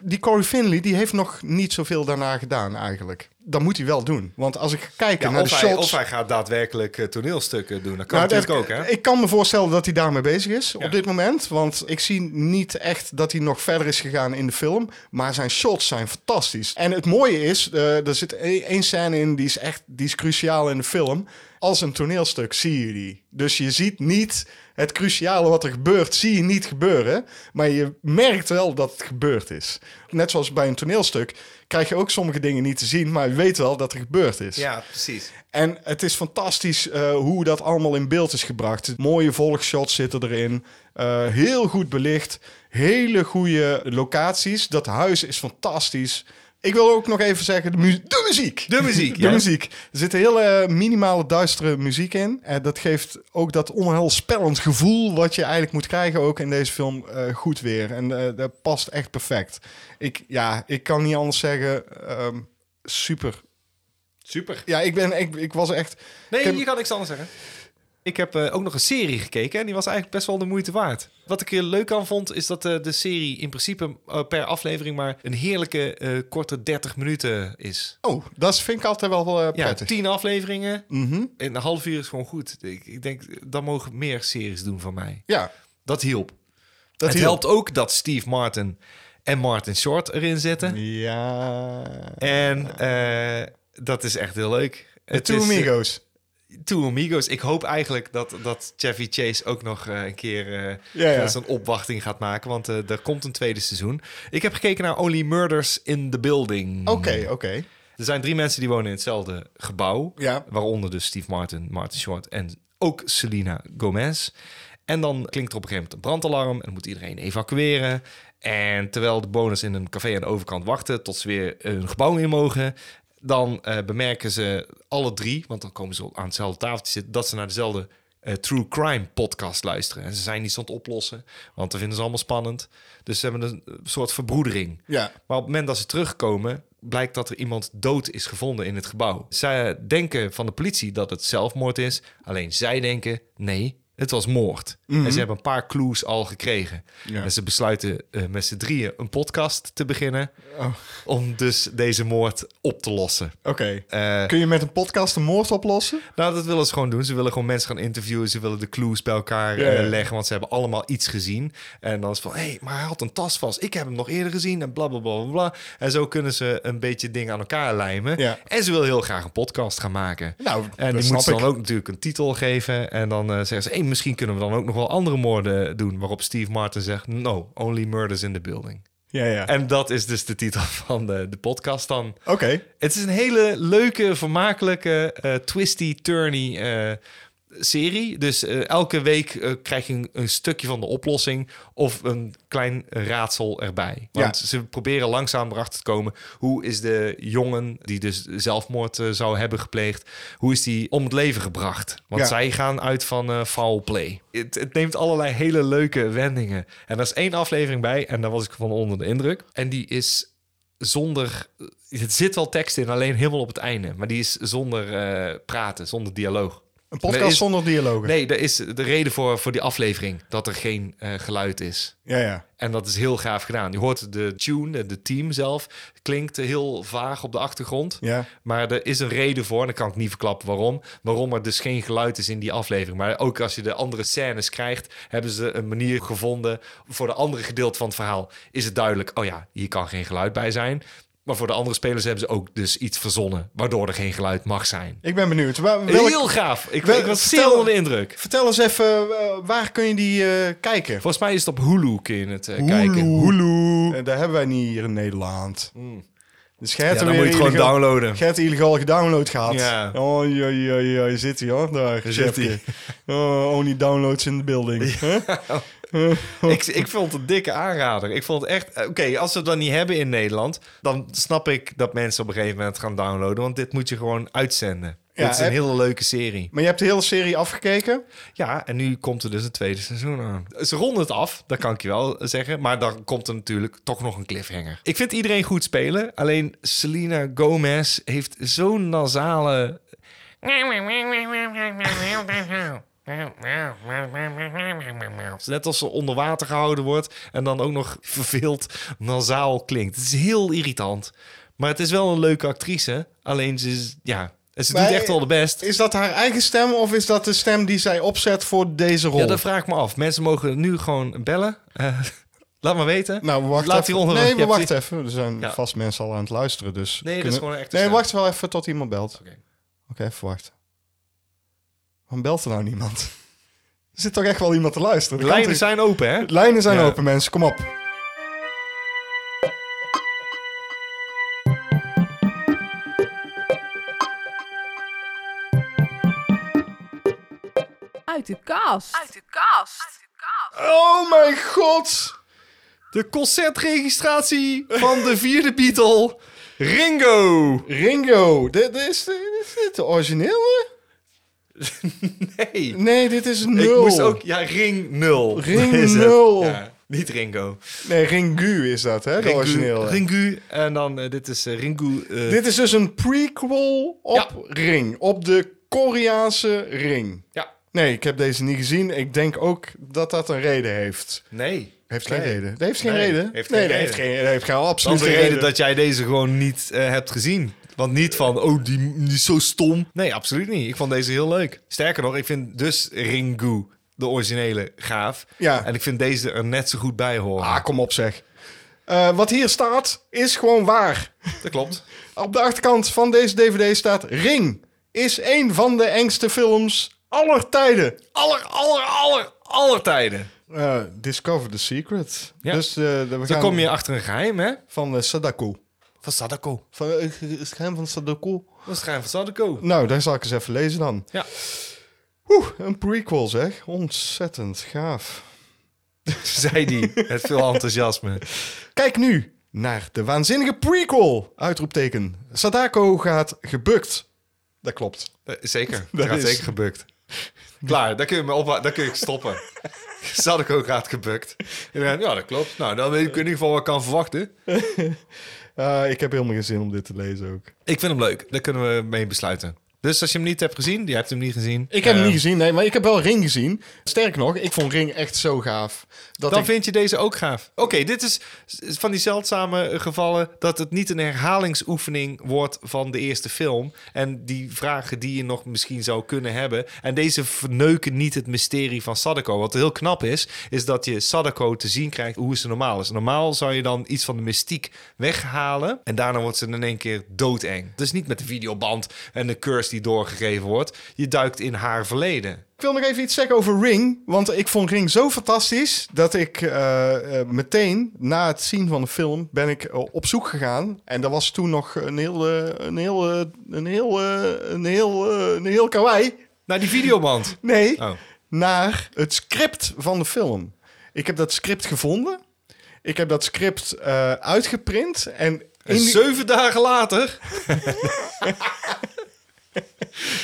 Speaker 1: die Corey Finley die heeft nog niet zoveel daarna gedaan eigenlijk. Dat moet hij wel doen. Want als ik ga kijken
Speaker 2: Ja,
Speaker 1: naar
Speaker 2: of,
Speaker 1: de
Speaker 2: hij,
Speaker 1: shots...
Speaker 2: of hij gaat daadwerkelijk eh, toneelstukken doen. Dat kan
Speaker 1: Nou,
Speaker 2: natuurlijk ook,
Speaker 1: dat-
Speaker 2: hè?
Speaker 1: Ik kan me voorstellen dat hij daarmee bezig is
Speaker 2: Ja.
Speaker 1: op dit moment. Want ik zie niet echt dat hij nog verder is gegaan in de film. Maar zijn shots zijn fantastisch. En het mooie is, eh, er zit e- één scène in die is echt die is cruciaal in de film. Als een toneelstuk zie je die. Dus je ziet niet het cruciale wat er gebeurt, zie je niet gebeuren. Maar je merkt wel dat het gebeurd is. Net zoals bij een toneelstuk krijg je ook sommige dingen niet te zien, maar je weet wel dat er gebeurd is.
Speaker 2: Ja, precies.
Speaker 1: En het is fantastisch eh, hoe dat allemaal in beeld is gebracht. Mooie volgshots zitten erin. eh, heel goed belicht. Hele goede locaties. Dat huis is fantastisch. Ik wil ook nog even zeggen, de, mu- de muziek.
Speaker 2: De muziek,
Speaker 1: De
Speaker 2: ja.
Speaker 1: muziek. Er zit hele eh, minimale duistere muziek in. En dat geeft ook dat onheilspellend gevoel... wat je eigenlijk moet krijgen ook in deze film eh, goed weer. En eh, dat past echt perfect. Ik, ja, ik kan niet anders zeggen... ehm, super
Speaker 2: Super.
Speaker 1: ja, ik, ben, ik, ik was echt.
Speaker 2: Nee,
Speaker 1: Ik heb-
Speaker 2: je kan niks anders zeggen. Ik heb eh, ook nog een serie gekeken en die was eigenlijk best wel de moeite waard. Wat ik er leuk aan vond, is dat eh, de serie in principe eh, per aflevering maar een heerlijke eh, korte 30 minuten is.
Speaker 1: Oh, dat vind ik altijd wel eh,
Speaker 2: Ja,
Speaker 1: prettig.
Speaker 2: 10 afleveringen
Speaker 1: Mhm.
Speaker 2: en een half uur is gewoon goed. Ik, ik denk, dan mogen meer series doen van mij.
Speaker 1: Ja,
Speaker 2: Dat hielp.
Speaker 1: dat
Speaker 2: het
Speaker 1: hielp.
Speaker 2: helpt ook dat Steve Martin en Martin Short erin zitten.
Speaker 1: Ja.
Speaker 2: En eh, dat is echt heel leuk.
Speaker 1: De Two
Speaker 2: is, eh,
Speaker 1: Amigos.
Speaker 2: Two Amigos. Ik hoop eigenlijk dat, dat Chevy Chase ook nog eh, een keer eh,
Speaker 1: Ja, ja.
Speaker 2: zo'n opwachting gaat maken. Want eh, er komt een tweede seizoen. Ik heb gekeken naar Only Murders in the Building.
Speaker 1: Oké, oké.
Speaker 2: Er zijn drie mensen die wonen in hetzelfde gebouw.
Speaker 1: Ja.
Speaker 2: Waaronder dus Steve Martin, Martin Short en ook Selena Gomez. En dan klinkt er op een gegeven moment een brandalarm en moet iedereen evacueren. En terwijl de bonus in een café aan de overkant wachten tot ze weer een gebouw in mogen... dan eh, bemerken ze alle drie, want dan komen ze aan hetzelfde tafeltje zitten... dat ze naar dezelfde eh, True Crime podcast luisteren. En ze zijn niet aan het oplossen, want dat vinden ze allemaal spannend. Dus ze hebben een soort verbroedering.
Speaker 1: Ja.
Speaker 2: Maar op het moment dat ze terugkomen, blijkt dat er iemand dood is gevonden in het gebouw. Zij denken van de politie dat het zelfmoord is. Alleen zij denken, nee, Het was moord. En ze hebben een paar clues al gekregen.
Speaker 1: Mhm. Ja.
Speaker 2: En ze besluiten eh, met z'n drieën een podcast te beginnen.
Speaker 1: Oh.
Speaker 2: Om dus deze moord op te lossen.
Speaker 1: Oké.
Speaker 2: Eh,
Speaker 1: Kun je met een podcast een moord oplossen?
Speaker 2: nou, dat willen ze gewoon doen. Ze willen gewoon mensen gaan interviewen. Ze willen de clues bij elkaar
Speaker 1: Ja, ja.
Speaker 2: eh, leggen. Want ze hebben allemaal iets gezien. En dan is het van, hé, hey, maar hij had een tas vast. Ik heb hem nog eerder gezien. En bla, bla, bla, bla, bla. En zo kunnen ze een beetje dingen aan elkaar lijmen.
Speaker 1: Ja.
Speaker 2: En ze wil heel graag een podcast gaan maken.
Speaker 1: Nou, dat
Speaker 2: en die
Speaker 1: snap
Speaker 2: moet ze dan
Speaker 1: ik.
Speaker 2: ook natuurlijk een titel geven. En dan eh, zeggen ze, hey, misschien kunnen we dan ook nog wel andere moorden doen. Waarop Steve Martin zegt, no, only murders in the building.
Speaker 1: Ja, ja.
Speaker 2: En dat is dus de titel [LAUGHS] van de, de podcast dan.
Speaker 1: Oké.
Speaker 2: Het is een hele leuke, vermakelijke, eh, twisty, turny eh, serie. Dus eh, elke week eh, krijg je een, een stukje van de oplossing of een klein raadsel erbij. Want ze proberen langzaam erachter te komen hoe is de jongen die dus zelfmoord eh, zou hebben gepleegd, hoe is die om het leven gebracht? Want
Speaker 1: Ja.
Speaker 2: zij gaan uit van eh, foul play. Het, het neemt allerlei hele leuke wendingen. En er is één aflevering bij en daar was ik van onder de indruk. En die is zonder. Het zit wel tekst in, alleen helemaal op het einde. Maar die is zonder eh, praten, zonder dialoog.
Speaker 1: Een
Speaker 2: Nee,
Speaker 1: podcast
Speaker 2: is-
Speaker 1: zonder dialogen.
Speaker 2: Nee, daar is de reden voor, voor die aflevering dat er geen eh, geluid is.
Speaker 1: Ja, ja.
Speaker 2: En dat is heel gaaf gedaan. Je hoort de tune, eh, de team zelf, klinkt heel vaag op de achtergrond.
Speaker 1: Ja.
Speaker 2: Maar er is een reden voor, en dan kan ik niet verklappen waarom. Waarom er dus geen geluid is in die aflevering. Maar ook als je de andere scènes krijgt, hebben ze een manier gevonden. Voor de andere gedeelte van het verhaal is het duidelijk: oh ja, hier kan geen geluid bij zijn. Maar voor de andere spelers hebben ze ook dus iets verzonnen. Waardoor er geen geluid mag zijn.
Speaker 1: Ik ben benieuwd. Wa- welk-
Speaker 2: Heel gaaf. Ik,
Speaker 1: Wel-
Speaker 2: ik was
Speaker 1: vertel-
Speaker 2: stil onder de indruk.
Speaker 1: Vertel eens even, eh, waar kun je die eh, kijken?
Speaker 2: Volgens mij is het op Hulu kun je het eh, kijken.
Speaker 1: Hulu. Eh, daar hebben wij niet hier in Nederland. Dus jij hebt
Speaker 2: Hmm. Ja,
Speaker 1: er
Speaker 2: dan
Speaker 1: weer
Speaker 2: moet je het gewoon
Speaker 1: illegaal-
Speaker 2: downloaden.
Speaker 1: jij hebt illegaal gedownload gehad.
Speaker 2: Ja.
Speaker 1: Oh, ja, ja, ja, je zit hier hoor. Daar,
Speaker 2: zit
Speaker 1: chefje. Oh, only downloads in the building. Huh?
Speaker 2: ik, ik vond het een dikke aanrader. Ik vond het echt... eh, Oké, als ze het dan niet hebben in Nederland... dan snap ik dat mensen op een gegeven moment gaan downloaden. Want dit moet je gewoon uitzenden.
Speaker 1: Ja,
Speaker 2: dit is een
Speaker 1: heb-
Speaker 2: hele leuke serie.
Speaker 1: Maar je hebt de hele serie afgekeken?
Speaker 2: Ja, en nu komt er dus een tweede seizoen aan. Ze ronden het af, dat kan ik je wel zeggen. Maar dan komt er natuurlijk toch nog een cliffhanger. Ik vind iedereen goed spelen. Alleen Selena Gomez heeft zo'n nasale... Dus Net als ze onder water gehouden wordt en dan ook nog verveeld nasaal klinkt. Het is heel irritant. Maar het is wel een leuke actrice. Alleen ze, is, ja, ze
Speaker 1: Maar-
Speaker 2: doet echt wel de best.
Speaker 1: Is dat haar eigen stem of is dat de stem die zij opzet voor deze rol?
Speaker 2: Ja, dat vraag ik me af. Mensen mogen nu gewoon bellen. Eh, [LAUGHS] laat maar weten.
Speaker 1: Nou, wacht
Speaker 2: Laat
Speaker 1: even.
Speaker 2: hieronder-
Speaker 1: Nee,
Speaker 2: je
Speaker 1: maar
Speaker 2: hebt-
Speaker 1: wacht even. Er zijn
Speaker 2: Ja.
Speaker 1: vast mensen al aan het luisteren, dus...
Speaker 2: Nee, dat is gewoon een echte
Speaker 1: Nee,
Speaker 2: stem.
Speaker 1: wacht wel even tot iemand belt. Oké,
Speaker 2: Oké.
Speaker 1: even wachten. Waarom belt er nou niemand? [LAUGHS] Er zit toch echt wel iemand te luisteren?
Speaker 2: De
Speaker 1: Dat kan
Speaker 2: lijnen
Speaker 1: toch-
Speaker 2: zijn open, hè?
Speaker 1: Lijnen zijn
Speaker 2: Ja.
Speaker 1: open, mensen. Kom op.
Speaker 4: Uit de kast.
Speaker 1: Oh mijn god!
Speaker 2: De concertregistratie van de vierde Beatle, Ringo.
Speaker 1: Ringo, dit, dit is, dit is dit de originele?
Speaker 2: Nee,
Speaker 1: Nee, dit is
Speaker 2: ik
Speaker 1: nul.
Speaker 2: moest ook... Ja, Ring 0.
Speaker 1: Ring
Speaker 2: Is het.
Speaker 1: nul.
Speaker 2: Ja, niet Ringo.
Speaker 1: Nee, Ringu is dat, hè? De
Speaker 2: Ringu,
Speaker 1: originele.
Speaker 2: Ringu. En dan, eh, dit is eh, Ringu... eh,
Speaker 1: Dit is dus een prequel op
Speaker 2: Ja.
Speaker 1: Ring. Op de Koreaanse Ring.
Speaker 2: Ja.
Speaker 1: Nee, ik heb deze niet gezien. Ik denk ook dat dat een reden heeft.
Speaker 2: Nee.
Speaker 1: Heeft geen
Speaker 2: Nee.
Speaker 1: reden. Dat heeft geen
Speaker 2: Nee,
Speaker 1: reden.
Speaker 2: heeft
Speaker 1: nee,
Speaker 2: geen
Speaker 1: dat
Speaker 2: reden.
Speaker 1: heeft geen Dat heeft geen
Speaker 2: Dat
Speaker 1: absoluut
Speaker 2: is de
Speaker 1: geen
Speaker 2: reden dat jij deze gewoon niet eh, hebt gezien. Want niet van, oh, die, die is zo stom. Nee, absoluut niet. Ik vond deze heel leuk. Sterker nog, ik vind dus Ringu, de originele, gaaf.
Speaker 1: Ja.
Speaker 2: En ik vind deze er net zo goed bij horen.
Speaker 1: Ah, kom op zeg. Eh, wat hier staat is gewoon waar.
Speaker 2: dat klopt.
Speaker 1: Op de achterkant van deze DVD staat Ring is een van de engste films aller tijden.
Speaker 2: Aller, aller, aller, aller tijden.
Speaker 1: Eh, Discover the Secret.
Speaker 2: Ja.
Speaker 1: Dus eh, we
Speaker 2: Dan
Speaker 1: gaan
Speaker 2: kom je achter een geheim, hè?
Speaker 1: van eh, Sadako.
Speaker 2: Van Sadako.
Speaker 1: Van, eh, het geheim van Sadako.
Speaker 2: Dat is het geheim van Sadako.
Speaker 1: Nou, daar zal ik eens even lezen dan.
Speaker 2: Ja.
Speaker 1: Oeh, een prequel zeg. Ontzettend gaaf.
Speaker 2: Zei die met veel enthousiasme.
Speaker 1: Kijk nu naar de waanzinnige prequel! Uitroepteken. Sadako gaat gebukt. Dat klopt.
Speaker 2: Eh,
Speaker 4: [LAUGHS]
Speaker 2: Zeker.
Speaker 1: Dat
Speaker 2: Dat gaat
Speaker 1: is-
Speaker 2: zeker gebukt. Klaar, daar kun je me op, daar kun je
Speaker 4: [LAUGHS]
Speaker 2: stoppen. Sadako gaat gebukt. Iedereen, Ja, dat klopt. Nou, dan weet ik in ieder geval wat ik kan verwachten.
Speaker 1: Eh, ik heb helemaal geen zin om dit te lezen ook.
Speaker 2: Ik vind hem leuk. Daar kunnen we mee besluiten. Dus als je hem niet hebt gezien, je hebt hem niet gezien.
Speaker 4: Ik heb
Speaker 2: eh,
Speaker 4: hem niet gezien, nee, maar ik heb wel Ring gezien. Sterker nog, ik vond Ring echt zo gaaf. Dat
Speaker 2: Dan
Speaker 4: ik,
Speaker 2: vind je deze ook gaaf. Oké, dit is van die zeldzame gevallen dat het niet een herhalingsoefening wordt van de eerste film. En die vragen die je nog misschien zou kunnen hebben. En deze verneuken niet het mysterie van Sadako. Wat heel knap is, is dat je Sadako te zien krijgt hoe ze normaal is. Normaal zou je dan iets van de mystiek weghalen. En daarna wordt ze in één keer doodeng. Dus niet met de videoband en de curse die doorgegeven wordt. Je duikt in haar verleden.
Speaker 1: Ik wil nog even iets zeggen over Ring. Want ik vond Ring zo fantastisch dat ik eh, eh, meteen na het zien van de film ben ik eh, op zoek gegaan. En dat was toen nog een heel, eh, een heel, eh, een heel, eh, een heel, eh, een heel kawaii.
Speaker 2: Naar die videoband.
Speaker 1: Nee,
Speaker 2: Oh.
Speaker 1: naar het script van de film. Ik heb dat script gevonden. Ik heb dat script eh, uitgeprint. En
Speaker 2: En
Speaker 1: in die-
Speaker 2: zeven dagen later. [LAUGHS]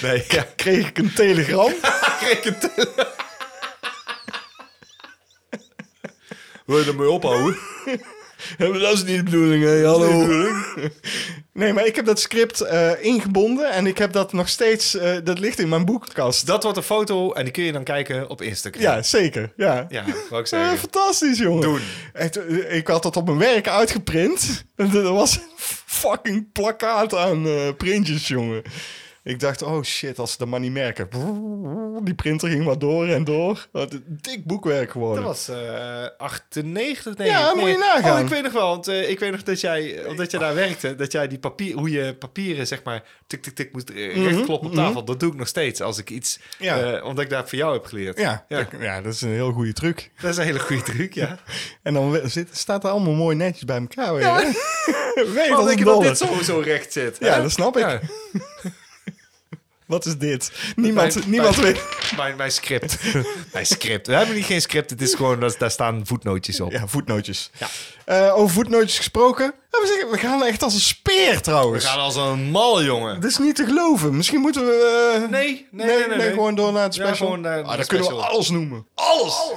Speaker 2: nee, ja,
Speaker 1: kreeg ik een telegram.
Speaker 2: kreeg een tele- Wil je ermee ophouden?
Speaker 1: [LAUGHS] dat is niet de bedoeling, hè? Hallo. Nee, maar ik heb dat script eh, ingebonden en ik heb dat nog steeds... eh, dat ligt in mijn boekenkast.
Speaker 2: Dat wordt een foto en die kun je dan kijken op Instagram.
Speaker 1: Ja, zeker. Ja.
Speaker 2: ja wou ik
Speaker 1: Eh,
Speaker 2: zeggen.
Speaker 1: fantastisch, jongen.
Speaker 2: Doen.
Speaker 1: En toen- ik had dat op mijn werk uitgeprint. [LAUGHS] Er was een fucking plakkaat aan eh, printjes, jongen. Ik dacht, oh shit, als ze dat maar niet merken. Die printer ging maar door en door. Wat een dik boekwerk
Speaker 2: Dat
Speaker 1: geworden.
Speaker 2: was eh 98, denk
Speaker 1: Ja,
Speaker 2: ik.
Speaker 1: moet je nagaan.
Speaker 2: Oh, ik weet nog wel, want eh, ik weet nog dat jij, omdat je daar werkte, dat jij die papier, hoe je papieren, zeg maar, tik, tik, tik, moest eh, rechtkloppen op tafel. Dat doe ik nog steeds als ik iets,
Speaker 1: Ja.
Speaker 2: eh, omdat ik dat voor jou heb geleerd.
Speaker 1: Ja,
Speaker 2: ja.
Speaker 1: ja. dat is een heel goede truc.
Speaker 2: Dat is een hele goede truc, ja.
Speaker 1: En dan we- zit, staat er allemaal mooi netjes bij elkaar. Weet
Speaker 2: [LAUGHS]
Speaker 1: je? Weet
Speaker 2: Ik
Speaker 1: als
Speaker 2: denk
Speaker 1: een
Speaker 2: dat
Speaker 1: dolle.
Speaker 2: dit sowieso recht zit.
Speaker 1: Ja,
Speaker 2: hè?
Speaker 1: dat snap ik.
Speaker 2: Ja.
Speaker 1: [LAUGHS] Wat is dit? Niemand,
Speaker 2: Mijn-
Speaker 1: niemand
Speaker 2: mijn-
Speaker 1: weet.
Speaker 2: [LAUGHS] Mijn, mijn script. mijn script. We hebben niet geen script. Het is gewoon, dat- daar staan voetnootjes op.
Speaker 1: Ja, voetnootjes. Eh, over voetnootjes gesproken. Ja, we, zeggen, we gaan echt als een speer
Speaker 2: We
Speaker 1: trouwens.
Speaker 2: gaan als een mal, jongen.
Speaker 1: Dat is niet te geloven. Misschien moeten we... eh,
Speaker 2: Nee, nee, nee, nee, nee.
Speaker 1: gewoon door naar het
Speaker 2: Ja,
Speaker 1: special.
Speaker 2: gewoon naar
Speaker 1: ah,
Speaker 2: de
Speaker 1: dan kunnen we
Speaker 2: special.
Speaker 1: alles noemen.
Speaker 2: Alles!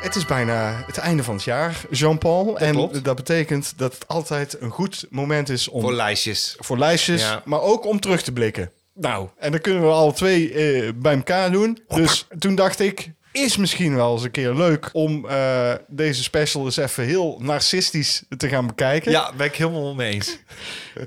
Speaker 1: Het is bijna het einde van het jaar, Jean-Paul. En
Speaker 2: klopt.
Speaker 1: dat betekent dat het altijd een goed moment is om...
Speaker 2: Voor lijstjes.
Speaker 1: voor lijstjes,
Speaker 2: Ja.
Speaker 1: maar ook om terug te blikken.
Speaker 2: Nou.
Speaker 1: En dan kunnen we alle twee eh, bij elkaar doen. Dus toen dacht ik, is misschien wel eens een keer leuk om eh, deze special eens even heel narcistisch te gaan bekijken.
Speaker 2: Ja, ben ik helemaal mee eens.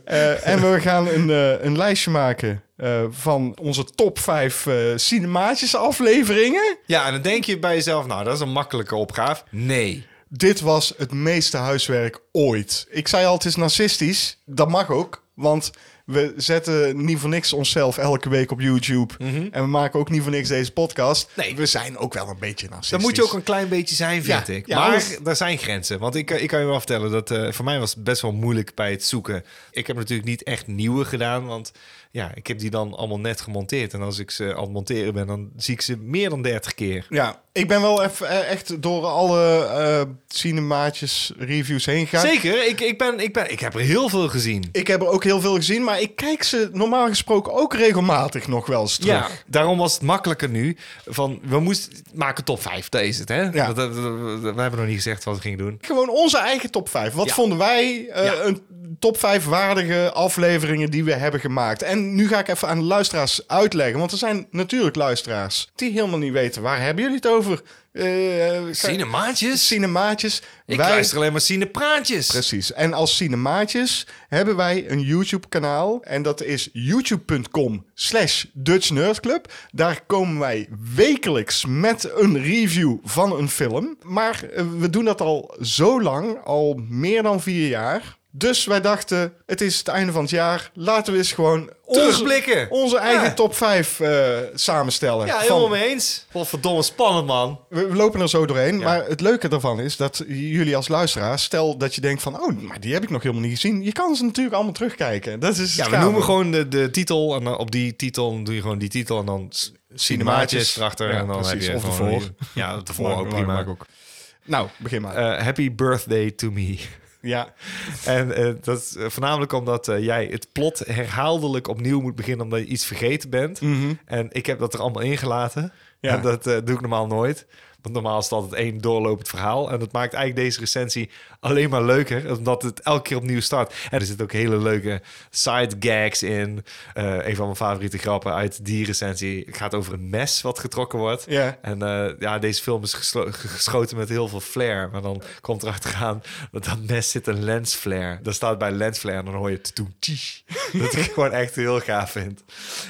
Speaker 1: Eh, en
Speaker 2: [LAUGHS]
Speaker 1: we gaan een, eh, een lijstje maken eh, van onze top 5 eh cinematische afleveringen.
Speaker 2: Ja, en dan denk je bij jezelf, nou, dat is een makkelijke opgave. Nee.
Speaker 1: Dit was het meeste huiswerk ooit. Ik zei al, het is narcistisch. Dat mag ook, want we zetten niet voor niks onszelf elke week op YouTube. En we maken ook niet voor niks deze podcast.
Speaker 2: Mhm. Nee.
Speaker 1: We zijn ook wel een beetje narcistisch.
Speaker 2: Dan moet je ook een klein beetje zijn, vind
Speaker 1: Ja,
Speaker 2: ik.
Speaker 1: ja,
Speaker 2: maar
Speaker 1: alles-
Speaker 2: er zijn grenzen. Want ik, ik kan je wel vertellen dat eh, voor mij was het best wel moeilijk bij het zoeken. Ik heb natuurlijk niet echt nieuwe gedaan, want ja, ik heb die dan allemaal net gemonteerd. En als ik ze aan het monteren ben, dan zie ik ze meer dan 30 keer.
Speaker 1: Ja, ik ben wel even eh, echt door alle eh, cinemaatjes reviews heen gegaan.
Speaker 2: Zeker, ik, ik, ben, ik, ben, ik heb er heel veel gezien.
Speaker 1: Ik heb er ook heel veel gezien, maar ik kijk ze normaal gesproken ook regelmatig nog wel eens terug.
Speaker 2: Ja, daarom was het makkelijker nu. Van, we moesten maken top 5, daar is het, hè?
Speaker 1: Ja.
Speaker 2: Dat- dat- dat- we hebben nog niet gezegd wat we gingen doen.
Speaker 1: Gewoon onze eigen top 5. Wat
Speaker 2: Ja.
Speaker 1: vonden wij eh,
Speaker 2: Ja.
Speaker 1: een top 5 waardige afleveringen die we hebben gemaakt? En nu ga ik even aan de luisteraars uitleggen. Want er zijn natuurlijk luisteraars die helemaal niet weten waar hebben jullie het over? Eh,
Speaker 2: Cinemaatjes?
Speaker 1: Cinemaatjes.
Speaker 2: Ik
Speaker 1: Wij-
Speaker 2: luister alleen maar cinepraatjes.
Speaker 1: Precies. En als cinemaatjes hebben wij een YouTube-kanaal. En dat is youtube.com slash Dutch Nerd Club. Daar komen wij wekelijks met een review van een film. Maar eh, we doen dat al zo lang, al meer dan vier jaar. Dus wij dachten, het is het einde van het jaar. Laten we eens gewoon onze-
Speaker 2: Terugblikken.
Speaker 1: Onze, eigen
Speaker 2: Ja.
Speaker 1: top 5 eh, samenstellen.
Speaker 2: Ja,
Speaker 1: Van-
Speaker 2: helemaal mee eens. Wat verdomme spannend, man.
Speaker 1: we we lopen er zo doorheen. Maar het leuke daarvan is dat jullie als luisteraar, stel dat je denkt van, oh, maar die heb ik nog helemaal niet gezien. Je kan ze natuurlijk allemaal terugkijken. Dat is
Speaker 2: Ja, we noemen gewoon de, de titel. En dan op die titel dan doe je gewoon die titel. En dan s- cinemaatjes erachter.
Speaker 1: Ja,
Speaker 2: en dan
Speaker 1: precies.
Speaker 2: heb je
Speaker 1: Of
Speaker 2: gewoon-
Speaker 1: ervoor.
Speaker 2: Ja, ervoor ook
Speaker 1: Maak-
Speaker 2: prima.
Speaker 1: maak ook. Nou, begin maar.
Speaker 2: Eh, happy birthday to me.
Speaker 1: ja.
Speaker 2: En eh, dat is eh, voornamelijk omdat eh, jij het plot herhaaldelijk opnieuw moet beginnen omdat je iets vergeten bent. En ik heb dat er allemaal ingelaten.
Speaker 1: Mhm. Ja.
Speaker 2: En dat eh, doe ik normaal nooit. Want normaal is het altijd één doorlopend verhaal. En dat maakt eigenlijk deze recensie alleen maar leuker. Omdat het elke keer opnieuw start. En er zitten ook hele leuke side gags in. Eh, een van mijn favoriete grappen uit die recensie gaat over een mes wat getrokken wordt.
Speaker 1: Ja.
Speaker 2: En eh, ja, deze film is geslo- ge- geschoten met heel veel flair. Maar dan komt er achteraan dat dat mes zit een lens flare. Dat staat bij lens flare en dan hoor je het doen. tjies. [LAUGHS] Dat ik gewoon echt heel gaaf vind.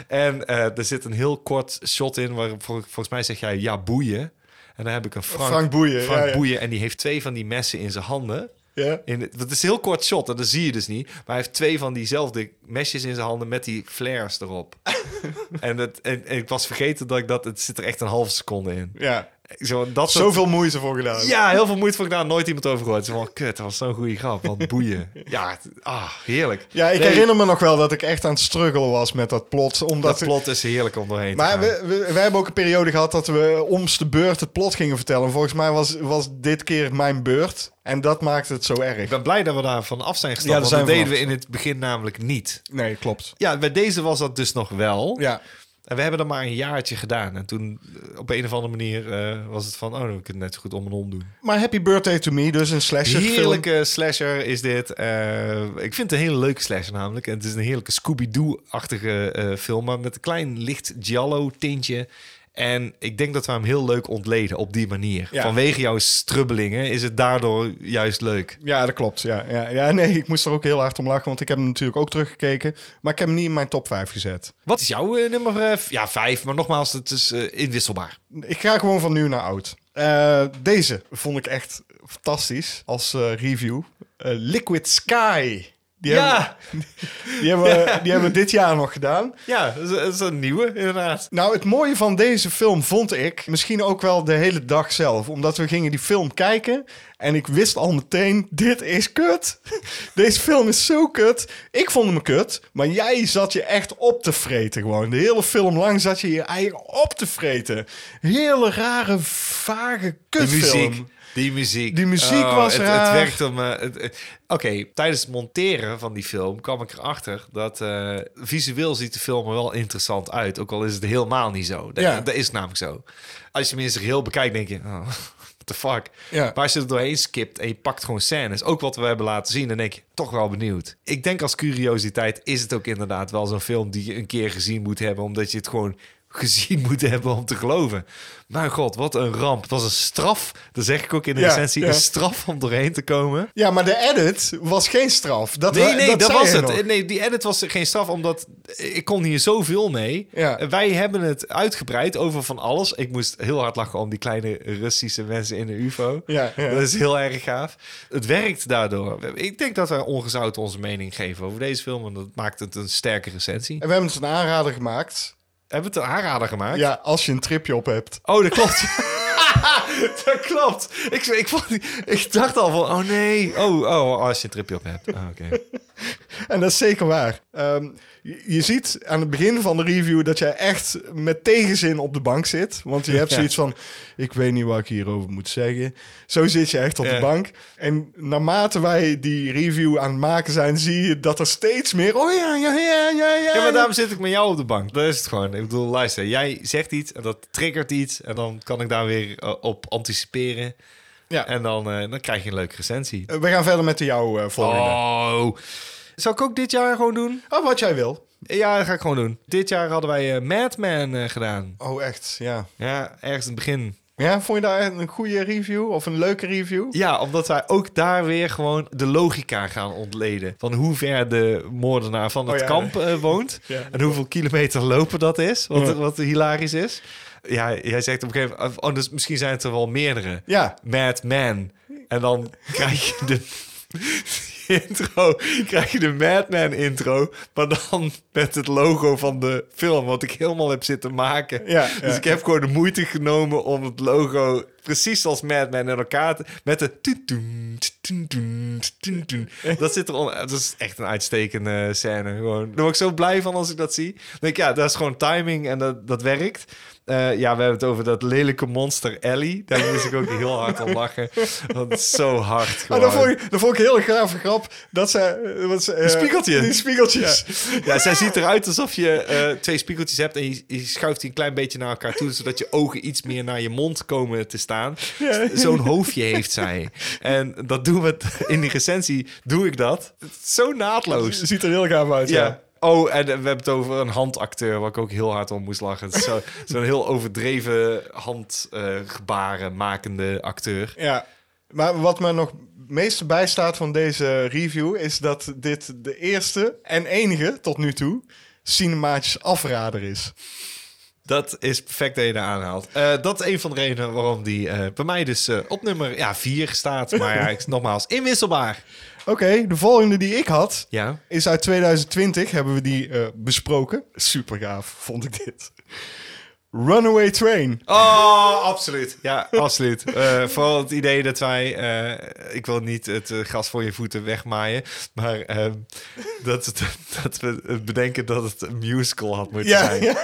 Speaker 2: En eh, er zit een heel kort shot in waar vol- volgens mij zeg jij ja boeien. En dan heb ik een Frank,
Speaker 1: Frank Boeien,
Speaker 2: Frank
Speaker 1: ja, ja.
Speaker 2: Boeien. En die heeft twee van die messen in zijn handen.
Speaker 1: Ja.
Speaker 2: In, het- dat is een heel kort shot, en dat zie je dus niet. Maar hij heeft twee van diezelfde mesjes in zijn handen met die flares
Speaker 1: [LAUGHS]
Speaker 2: erop. en, dat, en, en ik was vergeten dat ik dat... Het zit er echt een halve seconde in.
Speaker 1: Ja.
Speaker 2: Zo, dat soort-
Speaker 1: Zoveel moeite voor gedaan.
Speaker 2: Ja, heel veel moeite voor gedaan. Nooit iemand over gehoord. Ze van, kut, dat was zo'n goede grap.
Speaker 1: [LAUGHS]
Speaker 2: Wat boeien. Ja, het- ah, heerlijk.
Speaker 1: Ja, ik
Speaker 2: Nee,
Speaker 1: herinner me nog wel dat ik echt aan het struggelen was met dat plot. Omdat
Speaker 2: Dat plot is heerlijk om doorheen te
Speaker 1: Maar
Speaker 2: gaan.
Speaker 1: we, we- wij hebben ook een periode gehad dat we om's de beurt het plot gingen vertellen. Volgens mij was, was dit keer mijn beurt. En dat maakte het zo
Speaker 2: Ik
Speaker 1: erg.
Speaker 2: ben blij dat we daar van af zijn
Speaker 1: Ja,
Speaker 2: gestapt.
Speaker 1: daar
Speaker 2: want dat
Speaker 1: zijn we
Speaker 2: deden we in het begin namelijk niet.
Speaker 1: Nee, klopt.
Speaker 2: Ja, bij deze was dat dus nog wel.
Speaker 1: Ja.
Speaker 2: En we hebben dat maar een jaartje gedaan. En toen eh, op een of andere manier eh, was het van... oh, dan kunnen we het net zo goed om en om doen.
Speaker 1: Maar Happy Birthday to Me, dus een slasher
Speaker 2: Heerlijke slasher is dit. Eh, ik vind het een hele leuke slasher namelijk. En het is een heerlijke Scooby-Doo-achtige eh, film, maar met een klein licht giallo-tintje. En ik denk dat we hem heel leuk ontleden op die manier.
Speaker 1: Ja.
Speaker 2: Vanwege jouw strubbelingen is het daardoor juist leuk.
Speaker 1: Ja, dat klopt. Ja, ja, ja, nee, ik moest er ook heel hard om lachen, want ik heb hem natuurlijk ook teruggekeken. Maar ik heb hem niet in mijn top 5 gezet.
Speaker 2: Wat is jouw eh, nummer eh, v- ja, vijf? Maar nogmaals, het is eh, inwisselbaar.
Speaker 1: Ik ga gewoon van nieuw naar oud. Eh, deze vond ik echt fantastisch als eh, review. Eh, Liquid Sky. Die
Speaker 2: ja,
Speaker 1: hebben, die, hebben, die hebben we dit jaar nog gedaan.
Speaker 2: ja dat, is, dat is een nieuwe inderdaad.
Speaker 1: Nou, het mooie van deze film vond ik misschien ook wel de hele dag zelf. Omdat we gingen die film kijken en ik wist al meteen, dit is kut. [LAUGHS] Deze film is zo kut. Ik vond hem kut, maar jij zat je echt op te vreten gewoon. De hele film lang zat je je eigen op te vreten. Hele rare, vage
Speaker 2: De
Speaker 1: kutfilm.
Speaker 2: muziek. Die muziek. Oh,
Speaker 1: Die muziek was
Speaker 2: het,
Speaker 1: raar.
Speaker 2: Het werkte me. het- het- Oké, tijdens het monteren van die film kwam ik erachter dat eh, visueel ziet de film er wel interessant uit. Ook al is het helemaal niet zo. Dat,
Speaker 1: Ja.
Speaker 2: dat is namelijk zo. Als je mensen heel bekijkt, denk je. Oh, [LAUGHS] what the fuck.
Speaker 1: Ja.
Speaker 2: Maar als je er doorheen skipt en je pakt gewoon scènes, ook wat we hebben laten zien, dan denk je toch wel benieuwd. Ik denk als curiositeit is het ook inderdaad wel zo'n film die je een keer gezien moet hebben, omdat je het gewoon [LAUGHS] gezien moet hebben om te geloven. Maar god, wat een ramp. Het was een straf, dat zeg ik ook in de
Speaker 1: Ja,
Speaker 2: recensie,
Speaker 1: ja.
Speaker 2: een straf om doorheen te komen.
Speaker 1: Ja, maar de edit was geen straf. Dat,
Speaker 2: Nee, nee, dat,
Speaker 1: zei
Speaker 2: was
Speaker 1: je
Speaker 2: het. Eh,
Speaker 1: nog.
Speaker 2: Nee, die edit was geen straf, omdat ik kon hier zoveel mee. Eh,
Speaker 1: Ja.
Speaker 2: Wij hebben het uitgebreid over van alles. Ik moest heel hard lachen om die kleine Russische mensen in de UFO.
Speaker 1: Ja, ja.
Speaker 2: Dat is heel erg gaaf. Het werkt daardoor. Ik denk dat wij ongezout onze mening geven over deze film. En dat maakt het een sterke recensie.
Speaker 1: En we hebben het een aanrader gemaakt.
Speaker 2: Hebben we het een aanrader gemaakt?
Speaker 1: Ja, als je een tripje op hebt.
Speaker 2: Oh, dat klopt. [LAUGHS] dat klopt. Ik, ik, vond, ik dacht al van, oh nee. Oh, oh als je een tripje op hebt. Ah, Oké.
Speaker 1: En dat is zeker waar. Ehm, je, je ziet aan het begin van de review dat jij echt met tegenzin op de bank zit. Want je hebt
Speaker 2: [LAUGHS] Ja.
Speaker 1: zoiets van, ik weet niet wat ik hierover moet zeggen. Zo zit je echt op
Speaker 2: Ja.
Speaker 1: de bank. En naarmate wij die review aan het maken zijn, zie je dat er steeds meer... Oh ja, ja, ja, ja, ja.
Speaker 2: Ja, maar daarom zit ik met jou op de bank. Dat is het gewoon. Ik bedoel, luister, jij zegt iets en dat triggert iets. En dan kan ik daar weer eh, op anticiperen.
Speaker 1: Ja.
Speaker 2: En dan, eh, dan krijg je een leuke recensie.
Speaker 1: Eh, We gaan verder met de jouw eh, volgende. Oh.
Speaker 2: Oh. Zou ik ook dit jaar gewoon doen?
Speaker 1: wat jij wil.
Speaker 2: Ja, dat ga ik gewoon doen. Dit jaar hadden wij eh Madman eh, gedaan.
Speaker 1: Oh, echt, ja.
Speaker 2: Ja, ergens in het begin.
Speaker 1: Ja, vond je daar een goede review of een leuke review?
Speaker 2: Ja, omdat wij ook daar weer gewoon de logica gaan ontleden. Van hoe ver de moordenaar van het
Speaker 1: Oh ja.
Speaker 2: kamp eh, woont.
Speaker 1: Ja.
Speaker 2: En hoeveel kilometer lopen dat is. Wat,
Speaker 1: Ja.
Speaker 2: wat hilarisch is. Ja, jij zegt op een gegeven moment... Oh, dus misschien zijn het er wel meerdere.
Speaker 1: Ja.
Speaker 2: Mad Man. En dan [LAUGHS] krijg je de intro. Krijg je de Madman intro. Maar dan met het logo van de film. Wat ik helemaal heb zitten maken.
Speaker 1: Ja,
Speaker 2: dus
Speaker 1: ja.
Speaker 2: ik heb gewoon de moeite genomen om het logo... Precies zoals Madman in elkaar te... Met de... toet, toet, toet, toet, toet, toet. Dat zit er... on- Dat is echt een uitstekende scène. Gewoon. Daar word ik zo blij van als ik dat zie. Dan denk ik, ja, dat is gewoon timing en dat, dat werkt. Eh, ja, we hebben het over dat lelijke monster Ellie. Daar moest ik ook heel hard om lachen. Dat is zo hard
Speaker 1: Ah,
Speaker 2: gewoon.
Speaker 1: dat, vond ik, dat vond ik heel graag grap,
Speaker 5: grap dat ze... eh, Wat ze eh,
Speaker 2: spiegeltje.
Speaker 5: Die spiegeltjes.
Speaker 2: Ja, zij ziet eruit alsof je eh, twee spiegeltjes hebt en je, je schuift die een klein beetje naar elkaar toe, zodat je ogen iets meer naar je mond komen te staan. Zo'n hoofdje heeft zij. En dat doen we t- in die recensie, doe ik dat. Het is Zo naadloos.
Speaker 5: Ziet er heel gaaf uit, ja.
Speaker 2: Ja. Oh, en eh, we hebben het over een handacteur, waar ik ook heel hard om moest lachen. Het is zo- Zo'n heel overdreven handgebaren makende acteur.
Speaker 5: Ja.
Speaker 1: Maar wat me nog het meeste bijstaat van deze review is dat dit de eerste en enige tot nu toe cinematisch afrader is.
Speaker 2: Dat is perfect dat je daar aanhaalt. Eh, dat is een van de redenen waarom die eh, bij mij dus eh, op nummer ja, 4 staat. Maar ja, ik- nogmaals, inwisselbaar.
Speaker 1: Oké, de volgende die ik had
Speaker 2: Ja.
Speaker 1: is uit 2020, hebben we die eh, besproken. Super gaaf, vond ik dit. Runaway Train.
Speaker 2: Oh, absoluut. Ja, absoluut. Eh, vooral het idee dat wij... eh, ik wil niet het eh, gras voor je voeten wegmaaien. Maar ehm, dat, dat, [LAUGHS] dat we bedenken dat het een musical had moeten
Speaker 1: Ja,
Speaker 2: zijn.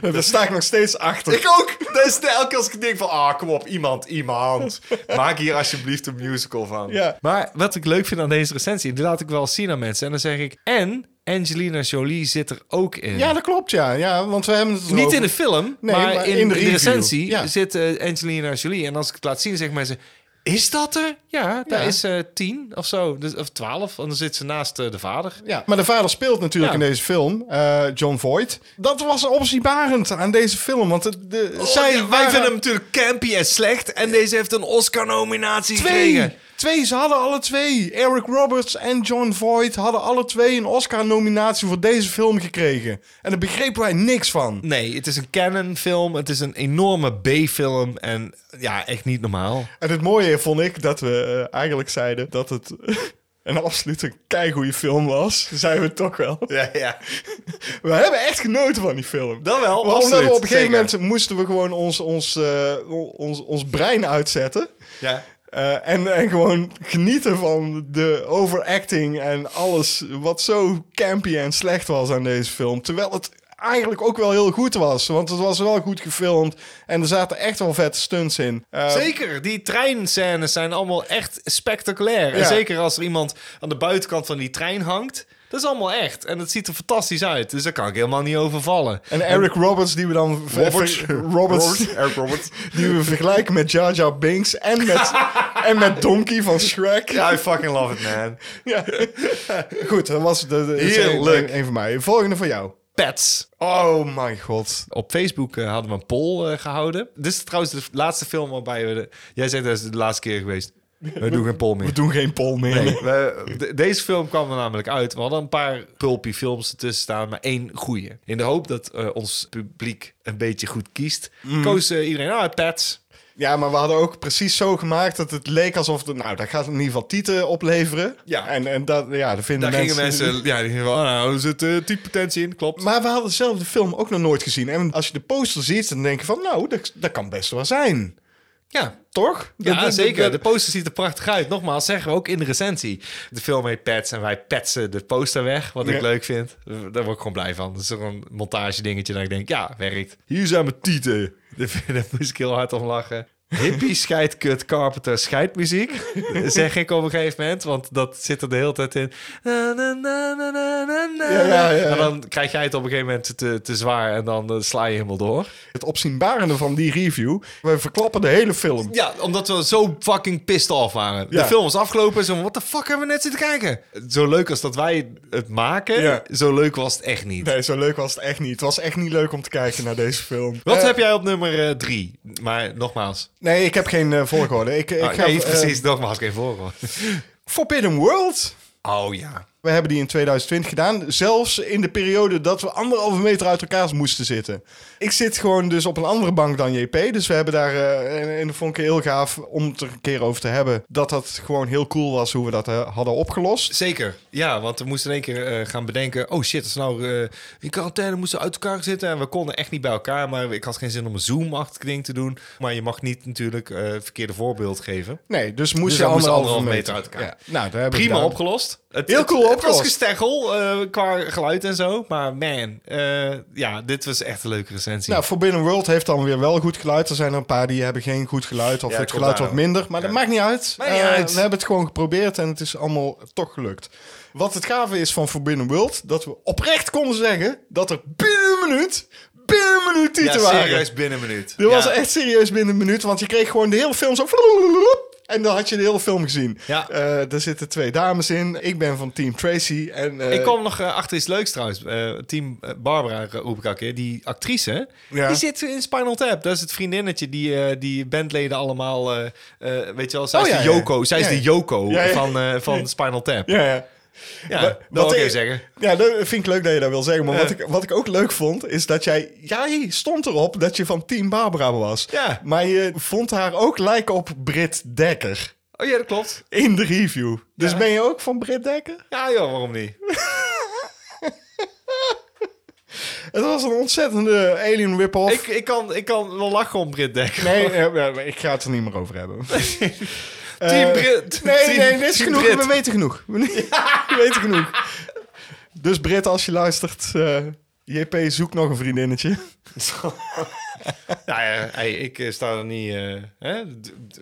Speaker 1: [LAUGHS] Daar sta ik nog steeds achter.
Speaker 2: Ik ook. Dat is de, elke keer als ik denk van, ah, kom op, iemand, iemand. Maak hier alsjeblieft een musical van.
Speaker 1: Ja.
Speaker 2: Maar wat ik leuk vind aan deze recensie, die laat ik wel zien aan mensen. En dan zeg ik, en Angelina Jolie zit er ook in.
Speaker 1: Ja, dat klopt, ja. ja want we hebben het
Speaker 2: Niet
Speaker 1: erover.
Speaker 2: in de film,
Speaker 1: Nee,
Speaker 2: maar, in, de,
Speaker 1: review.
Speaker 2: recensie
Speaker 1: Ja.
Speaker 2: zit eh, Angelina Jolie. En als ik het laat zien, zeggen mensen... Is dat er? Ja, daar
Speaker 1: Ja.
Speaker 2: is eh, tien of zo. Dus, of twaalf. En dan zit ze naast eh, de vader.
Speaker 1: Ja, maar de vader speelt natuurlijk
Speaker 2: Ja.
Speaker 1: in deze film, eh, John Voight. Dat was opzienbarend aan deze film, want de, de-
Speaker 2: Oh,
Speaker 1: zij waren-
Speaker 2: natuurlijk campy en slecht. En deze heeft een Oscar-nominatie
Speaker 1: twee. Twee, ze hadden alle twee. Eric Roberts en John Voight hadden alle twee een Oscar-nominatie voor deze film gekregen. En daar begrepen wij niks van.
Speaker 2: Nee, het is een Canon-film. Het is een enorme B-film. En ja, echt niet
Speaker 1: [LAUGHS]
Speaker 2: normaal.
Speaker 1: En het mooie vond ik dat we eh, eigenlijk zeiden dat het [LAUGHS] een absolute keigoede film was. Zijn we toch wel.
Speaker 2: Ja, ja.
Speaker 1: We hebben echt genoten van die film.
Speaker 2: Dan wel.
Speaker 1: Maar
Speaker 2: absoluut,
Speaker 1: omdat we op een gegeven
Speaker 2: zeker.
Speaker 1: moment moesten we gewoon ons, ons, eh, ons, ons brein uitzetten.
Speaker 2: Ja.
Speaker 1: Eh, en, en gewoon genieten van de overacting en alles wat zo campy en slecht was aan deze film. Terwijl het eigenlijk ook wel heel goed was. Want het was wel goed gefilmd en er zaten echt wel vette stunts in. Eh,
Speaker 2: Zeker, die treinscènes zijn allemaal echt spectaculair. En
Speaker 1: Ja.
Speaker 2: zeker als er iemand aan de buitenkant van die trein hangt. Dat is allemaal echt. En het ziet er fantastisch uit. Dus daar kan ik helemaal niet over vallen.
Speaker 1: en Eric Roberts, die we dan ver- ver- Roberts,
Speaker 2: Eric Roberts.
Speaker 1: [LAUGHS] die we vergelijken met Jar Jar Binks en met, en met Donkey van Shrek.
Speaker 2: Ja, I fucking love it, man.
Speaker 1: Ja. [LAUGHS] Goed, dat was de, de, is
Speaker 2: Heerlijk.
Speaker 1: Een, een van mij. Volgende van jou.
Speaker 2: Pets.
Speaker 1: Oh mijn god.
Speaker 2: Op Facebook eh, hadden we een poll eh, gehouden. Dit is trouwens de laatste film waarbij we... De... Jij zegt dat is de laatste keer geweest. We doen geen poll meer.
Speaker 1: We doen geen poll meer.
Speaker 2: Nee, we- de- deze film kwam er namelijk uit. We hadden een paar pulpy films ertussen staan, maar één goeie. In de hoop dat eh, ons publiek een beetje goed kiest, koos eh, iedereen ah, Pets.
Speaker 1: Ja, maar we hadden ook precies zo gemaakt dat het leek alsof... De, nou, dat gaat in ieder geval tieten opleveren.
Speaker 2: Ja.
Speaker 1: En, en dat, ja, dat vinden
Speaker 2: Daar
Speaker 1: mensen...
Speaker 2: gingen mensen, ja, die gingen van, ah, nou, er zit eh, 10 potentie in,
Speaker 1: [LAUGHS]
Speaker 2: klopt.
Speaker 1: Maar we hadden zelf de film ook nog nooit gezien. En als je de poster ziet, dan denk je van... Nou, dat, dat kan best wel zijn.
Speaker 2: ja,
Speaker 1: Toch?
Speaker 2: ja
Speaker 1: Dat- dat-
Speaker 2: zeker. De
Speaker 1: dat-
Speaker 2: poster ziet er prachtig uit. Nogmaals, zeggen we ook in de recensie. De film heet Pets en wij petsen de poster weg, wat ik
Speaker 1: Ja.
Speaker 2: leuk vind. Daar word ik gewoon blij van. Dat is toch een montage dingetje dat ik denk, ja, werkt. Hier zijn mijn tieten. [LAUGHS] Daar moest ik heel hard om lachen. Hippie scheidt kut Carpenter scheidmuziek. [LAUGHS] Zeg ik op een gegeven moment, want dat zit er de hele tijd in. Na, na, na, na, na, na, na.
Speaker 1: Ja, ja, ja.
Speaker 2: En dan krijg jij het op een gegeven moment te, te zwaar en dan eh, sla je helemaal door.
Speaker 1: Het opzienbarende van die review... We verklappen de hele film.
Speaker 2: Ja, omdat we zo fucking pissed off waren. De
Speaker 1: Ja.
Speaker 2: film was afgelopen en zo, what the fuck hebben we net zitten kijken? Zo leuk als dat wij het maken,
Speaker 1: Ja.
Speaker 2: zo leuk was het echt niet.
Speaker 1: Nee, zo leuk was het echt niet. Het was echt niet leuk om te kijken naar deze film.
Speaker 2: Wat
Speaker 1: Eh,
Speaker 2: heb jij op nummer eh, drie? Maar nogmaals,
Speaker 1: Nee, ik heb geen eh, volgorde. Ik, ik
Speaker 2: ik
Speaker 1: ga, eh,
Speaker 2: Oh, precies, nogmaals geen voorhoor.
Speaker 1: Forbidden World.
Speaker 2: Oh ja.
Speaker 1: We hebben die in 2020 gedaan. Zelfs in de periode dat we anderhalve meter uit elkaar moesten zitten. Ik zit gewoon dus op een andere bank dan JP. Dus we hebben daar, eh, en, en dat vond ik heel gaaf om het er een keer over te hebben. Dat dat gewoon heel cool was hoe we dat eh, hadden opgelost.
Speaker 2: Zeker, ja, want we moesten in één keer eh, gaan bedenken... oh shit, als we nou eh, in quarantaine moesten we uit elkaar zitten... en we konden echt niet bij elkaar, maar ik had geen zin om een Zoom-achtig ding te doen. Maar je mag niet natuurlijk eh, verkeerde voorbeeld geven.
Speaker 1: Nee, dus moest
Speaker 2: Dus
Speaker 1: je
Speaker 2: we
Speaker 1: anderhalve,
Speaker 2: moesten anderhalve
Speaker 1: meter.
Speaker 2: meter uit elkaar.
Speaker 1: Ja. Nou, daar hebben we
Speaker 2: Prima
Speaker 1: gedaan.
Speaker 2: opgelost. Het,
Speaker 1: Heel
Speaker 2: het-
Speaker 1: cool
Speaker 2: het- ook wel eens
Speaker 1: opgelost.
Speaker 2: gesteggel eh, qua geluid en zo. Maar man, eh, ja, dit was echt een leuke recensie.
Speaker 1: Nou, Forbidden World heeft dan weer wel goed geluid. Er zijn er een paar die hebben geen goed geluid of
Speaker 2: Ja,
Speaker 1: het
Speaker 2: komt
Speaker 1: geluid
Speaker 2: daar
Speaker 1: wat
Speaker 2: ook.
Speaker 1: minder. Maar dat maakt niet uit.
Speaker 2: Maakt niet
Speaker 1: Eh,
Speaker 2: uit.
Speaker 1: We hebben het gewoon geprobeerd en het is allemaal toch gelukt. Wat het gave is van Forbidden World, dat we oprecht konden zeggen dat er binnen een minuut, binnen een minuut
Speaker 2: ja,
Speaker 1: tieten waren.
Speaker 2: serieus binnen een minuut.
Speaker 1: Dit was
Speaker 2: Ja.
Speaker 1: echt serieus binnen een minuut, want je kreeg gewoon de hele film zo... En dan had je de hele film gezien.
Speaker 2: Ja.
Speaker 1: Eh, daar zitten twee dames in. Ik ben van Team Tracy. En, eh,
Speaker 2: Ik kwam nog eh, achter iets leuks trouwens. Eh, team eh, Barbara eh, roep ik elke keer. Die actrice,
Speaker 1: Ja.
Speaker 2: die zit in Spinal Tap. Dat is het vriendinnetje die, eh, die bandleden allemaal... eh, eh, weet je wel, zij
Speaker 1: Oh,
Speaker 2: is
Speaker 1: ja,
Speaker 2: de
Speaker 1: ja.
Speaker 2: Yoko. Zij
Speaker 1: Ja,
Speaker 2: is de
Speaker 1: ja.
Speaker 2: Yoko
Speaker 1: Ja, ja.
Speaker 2: van, eh, van Spinal Tap. Ja,
Speaker 1: Ja, ja.
Speaker 2: dat
Speaker 1: wat
Speaker 2: wil ik
Speaker 1: ik-
Speaker 2: even zeggen.
Speaker 1: Ja, dat vind ik leuk dat je dat wil zeggen. Maar wat,
Speaker 2: Ja.
Speaker 1: ik, wat ik ook leuk vond, is dat jij... Jij stond erop dat je van Team Barbara was.
Speaker 2: Ja.
Speaker 1: Maar je vond haar ook lijken op Brit Dekker.
Speaker 2: Oh ja, dat klopt.
Speaker 1: In de review. Dus
Speaker 2: Ja.
Speaker 1: ben je ook van Brit Dekker?
Speaker 2: Ja joh, waarom niet?
Speaker 1: Het was een ontzettende alien rip-off.
Speaker 2: Ik, ik, kan, ik kan wel lachen om Brit Dekker.
Speaker 1: Nee, eh, eh, ik ga het er niet meer over
Speaker 2: [LAUGHS]
Speaker 1: hebben. Eh,
Speaker 2: Team Brit.
Speaker 1: Nee,
Speaker 2: Team-
Speaker 1: nee, dit is
Speaker 2: Team
Speaker 1: genoeg.
Speaker 2: Brit.
Speaker 1: We weten genoeg. [LAUGHS] We weten genoeg. Dus Brit, als je luistert, eh, JP, zoek nog een vriendinnetje.
Speaker 2: Nou ja, hey, ik eh, sta er niet... eh, hè? D- d-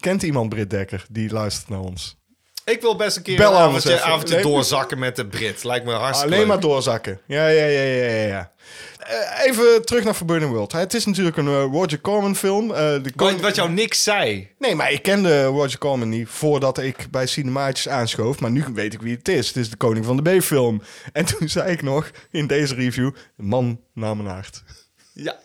Speaker 1: Kent iemand Brit Dekker die luistert naar ons?
Speaker 2: Ik wil best een keer
Speaker 1: Bel
Speaker 2: een
Speaker 1: aan ons
Speaker 2: avondje,
Speaker 1: even.
Speaker 2: avondje
Speaker 1: Nee.
Speaker 2: doorzakken met de Brit. Lijkt me hartstikke
Speaker 1: Alleen
Speaker 2: leuk.
Speaker 1: maar doorzakken. Ja, ja, ja, ja, ja. ja. Eh, Even terug naar Forbidden World. Het is natuurlijk een eh, Roger Corman film. Eh, de
Speaker 2: Wat,
Speaker 1: Corman-
Speaker 2: wat jou niks zei.
Speaker 1: Nee, maar ik kende Roger Corman niet voordat ik bij Cinemaatjes aanschoof. Maar nu weet ik wie het is. Het is de Koning van de B-film. En toen zei ik nog in deze review, man naar mijn hart.
Speaker 2: Ja.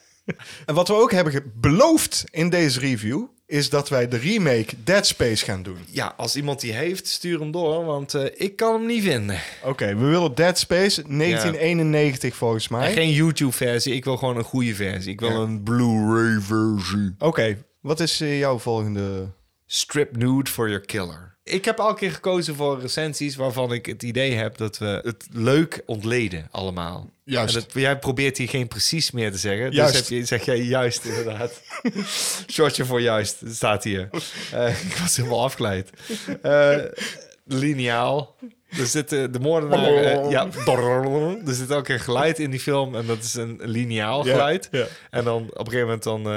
Speaker 1: En wat we ook hebben ge- beloofd in deze review... is dat wij de remake Dead Space gaan doen.
Speaker 2: Ja, als iemand die heeft, stuur hem door, want eh, ik kan hem niet vinden.
Speaker 1: Oké, we willen Dead Space 1991 volgens mij.
Speaker 2: En geen YouTube-versie, ik wil gewoon een goede versie. Ik wil een Blu-ray-versie.
Speaker 1: Oké, wat is eh, jouw volgende...
Speaker 2: Strip nude for your killer. Ik heb elke keer gekozen voor recensies waarvan ik het idee heb dat we het leuk ontleden allemaal.
Speaker 1: Juist.
Speaker 2: En dat, jij probeert hier geen precies meer te zeggen.
Speaker 1: Juist.
Speaker 2: Dus heb je, zeg jij juist inderdaad. [LAUGHS] Shortje voor juist, het staat [LAUGHS] hier. Eh, ik was helemaal afgeleid. Eh lineaal. Er zit eh, de moordenaar... eh, ja, er zit ook een geluid in die film en dat is een lineaal
Speaker 1: Ja,
Speaker 2: geluid.
Speaker 1: ja.
Speaker 2: En dan op een gegeven moment dan,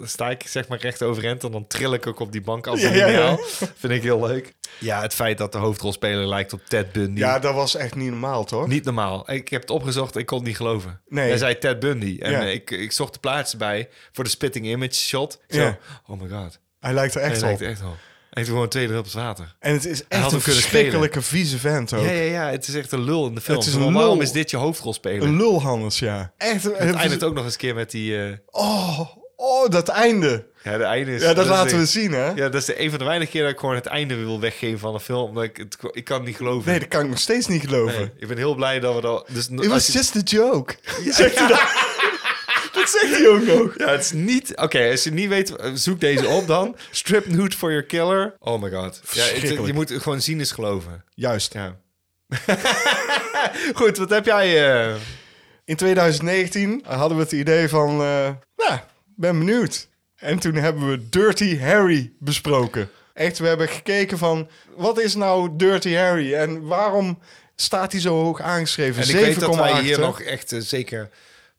Speaker 2: eh, sta ik zeg maar recht overeind en dan trill ik ook op die bank als
Speaker 1: Ja,
Speaker 2: een
Speaker 1: ja, ja.
Speaker 2: lineaal. Vind ik heel leuk. Ja, het feit dat de hoofdrolspeler lijkt op Ted Bundy.
Speaker 1: Ja, dat was echt niet normaal, toch?
Speaker 2: Niet normaal. Ik heb het opgezocht, ik kon het niet geloven.
Speaker 1: Nee.
Speaker 2: Hij zei Ted Bundy. En
Speaker 1: Ja.
Speaker 2: eh, ik, ik zocht de plaats bij voor de spitting image shot. Ik zo,
Speaker 1: Ja.
Speaker 2: oh my god.
Speaker 1: Hij lijkt er
Speaker 2: Hij
Speaker 1: echt op.
Speaker 2: lijkt echt al. Hij heeft gewoon twee druppels water.
Speaker 1: En het is
Speaker 2: had
Speaker 1: echt een
Speaker 2: hem kunnen
Speaker 1: verschrikkelijke vieze vent ook.
Speaker 2: Ja, ja, ja. Het is echt een lul in de film.
Speaker 1: Het is
Speaker 2: Van,
Speaker 1: een
Speaker 2: Waarom
Speaker 1: lul.
Speaker 2: is dit je hoofdrolspeler?
Speaker 1: Een lulhandels, ja. Echt.
Speaker 2: Het eindigt ook nog eens een keer met die... eh,
Speaker 1: Oh, oh, dat einde.
Speaker 2: ja, de einde is...
Speaker 1: Ja, dat,
Speaker 2: is
Speaker 1: laten
Speaker 2: echt-
Speaker 1: we zien, hè?
Speaker 2: Ja, dat is de- een van de weinige keer dat ik gewoon het einde wil weggeven van een film. Omdat ik, het, ik kan het niet geloven.
Speaker 1: Nee, dat kan ik nog steeds niet geloven.
Speaker 2: Nee, ik ben heel blij dat we dat... Dus
Speaker 1: It was
Speaker 2: als je-
Speaker 1: just a joke. Zegt hij dat?
Speaker 2: [LAUGHS]
Speaker 1: dat zegt hij ook nog.
Speaker 2: Ja, het is niet... Oké, als je niet weet, eh, zoek deze op dan. [LAUGHS] Strip nude for your killer. Oh my god. Ja, het-
Speaker 1: Verschrikkelijk.
Speaker 2: je moet gewoon zien is geloven.
Speaker 1: Juist.
Speaker 2: Ja. Goed, wat heb jij... eh
Speaker 1: In 2019 hadden we het idee van... eh nou, ben benieuwd. En toen hebben we Dirty Harry besproken. Echt, we hebben gekeken van... Wat is nou Dirty Harry? En waarom staat hij zo hoog aangeschreven?
Speaker 2: En ik weet dat wij
Speaker 1: 7,8,
Speaker 2: hier
Speaker 1: hè?
Speaker 2: nog echt eh, zeker...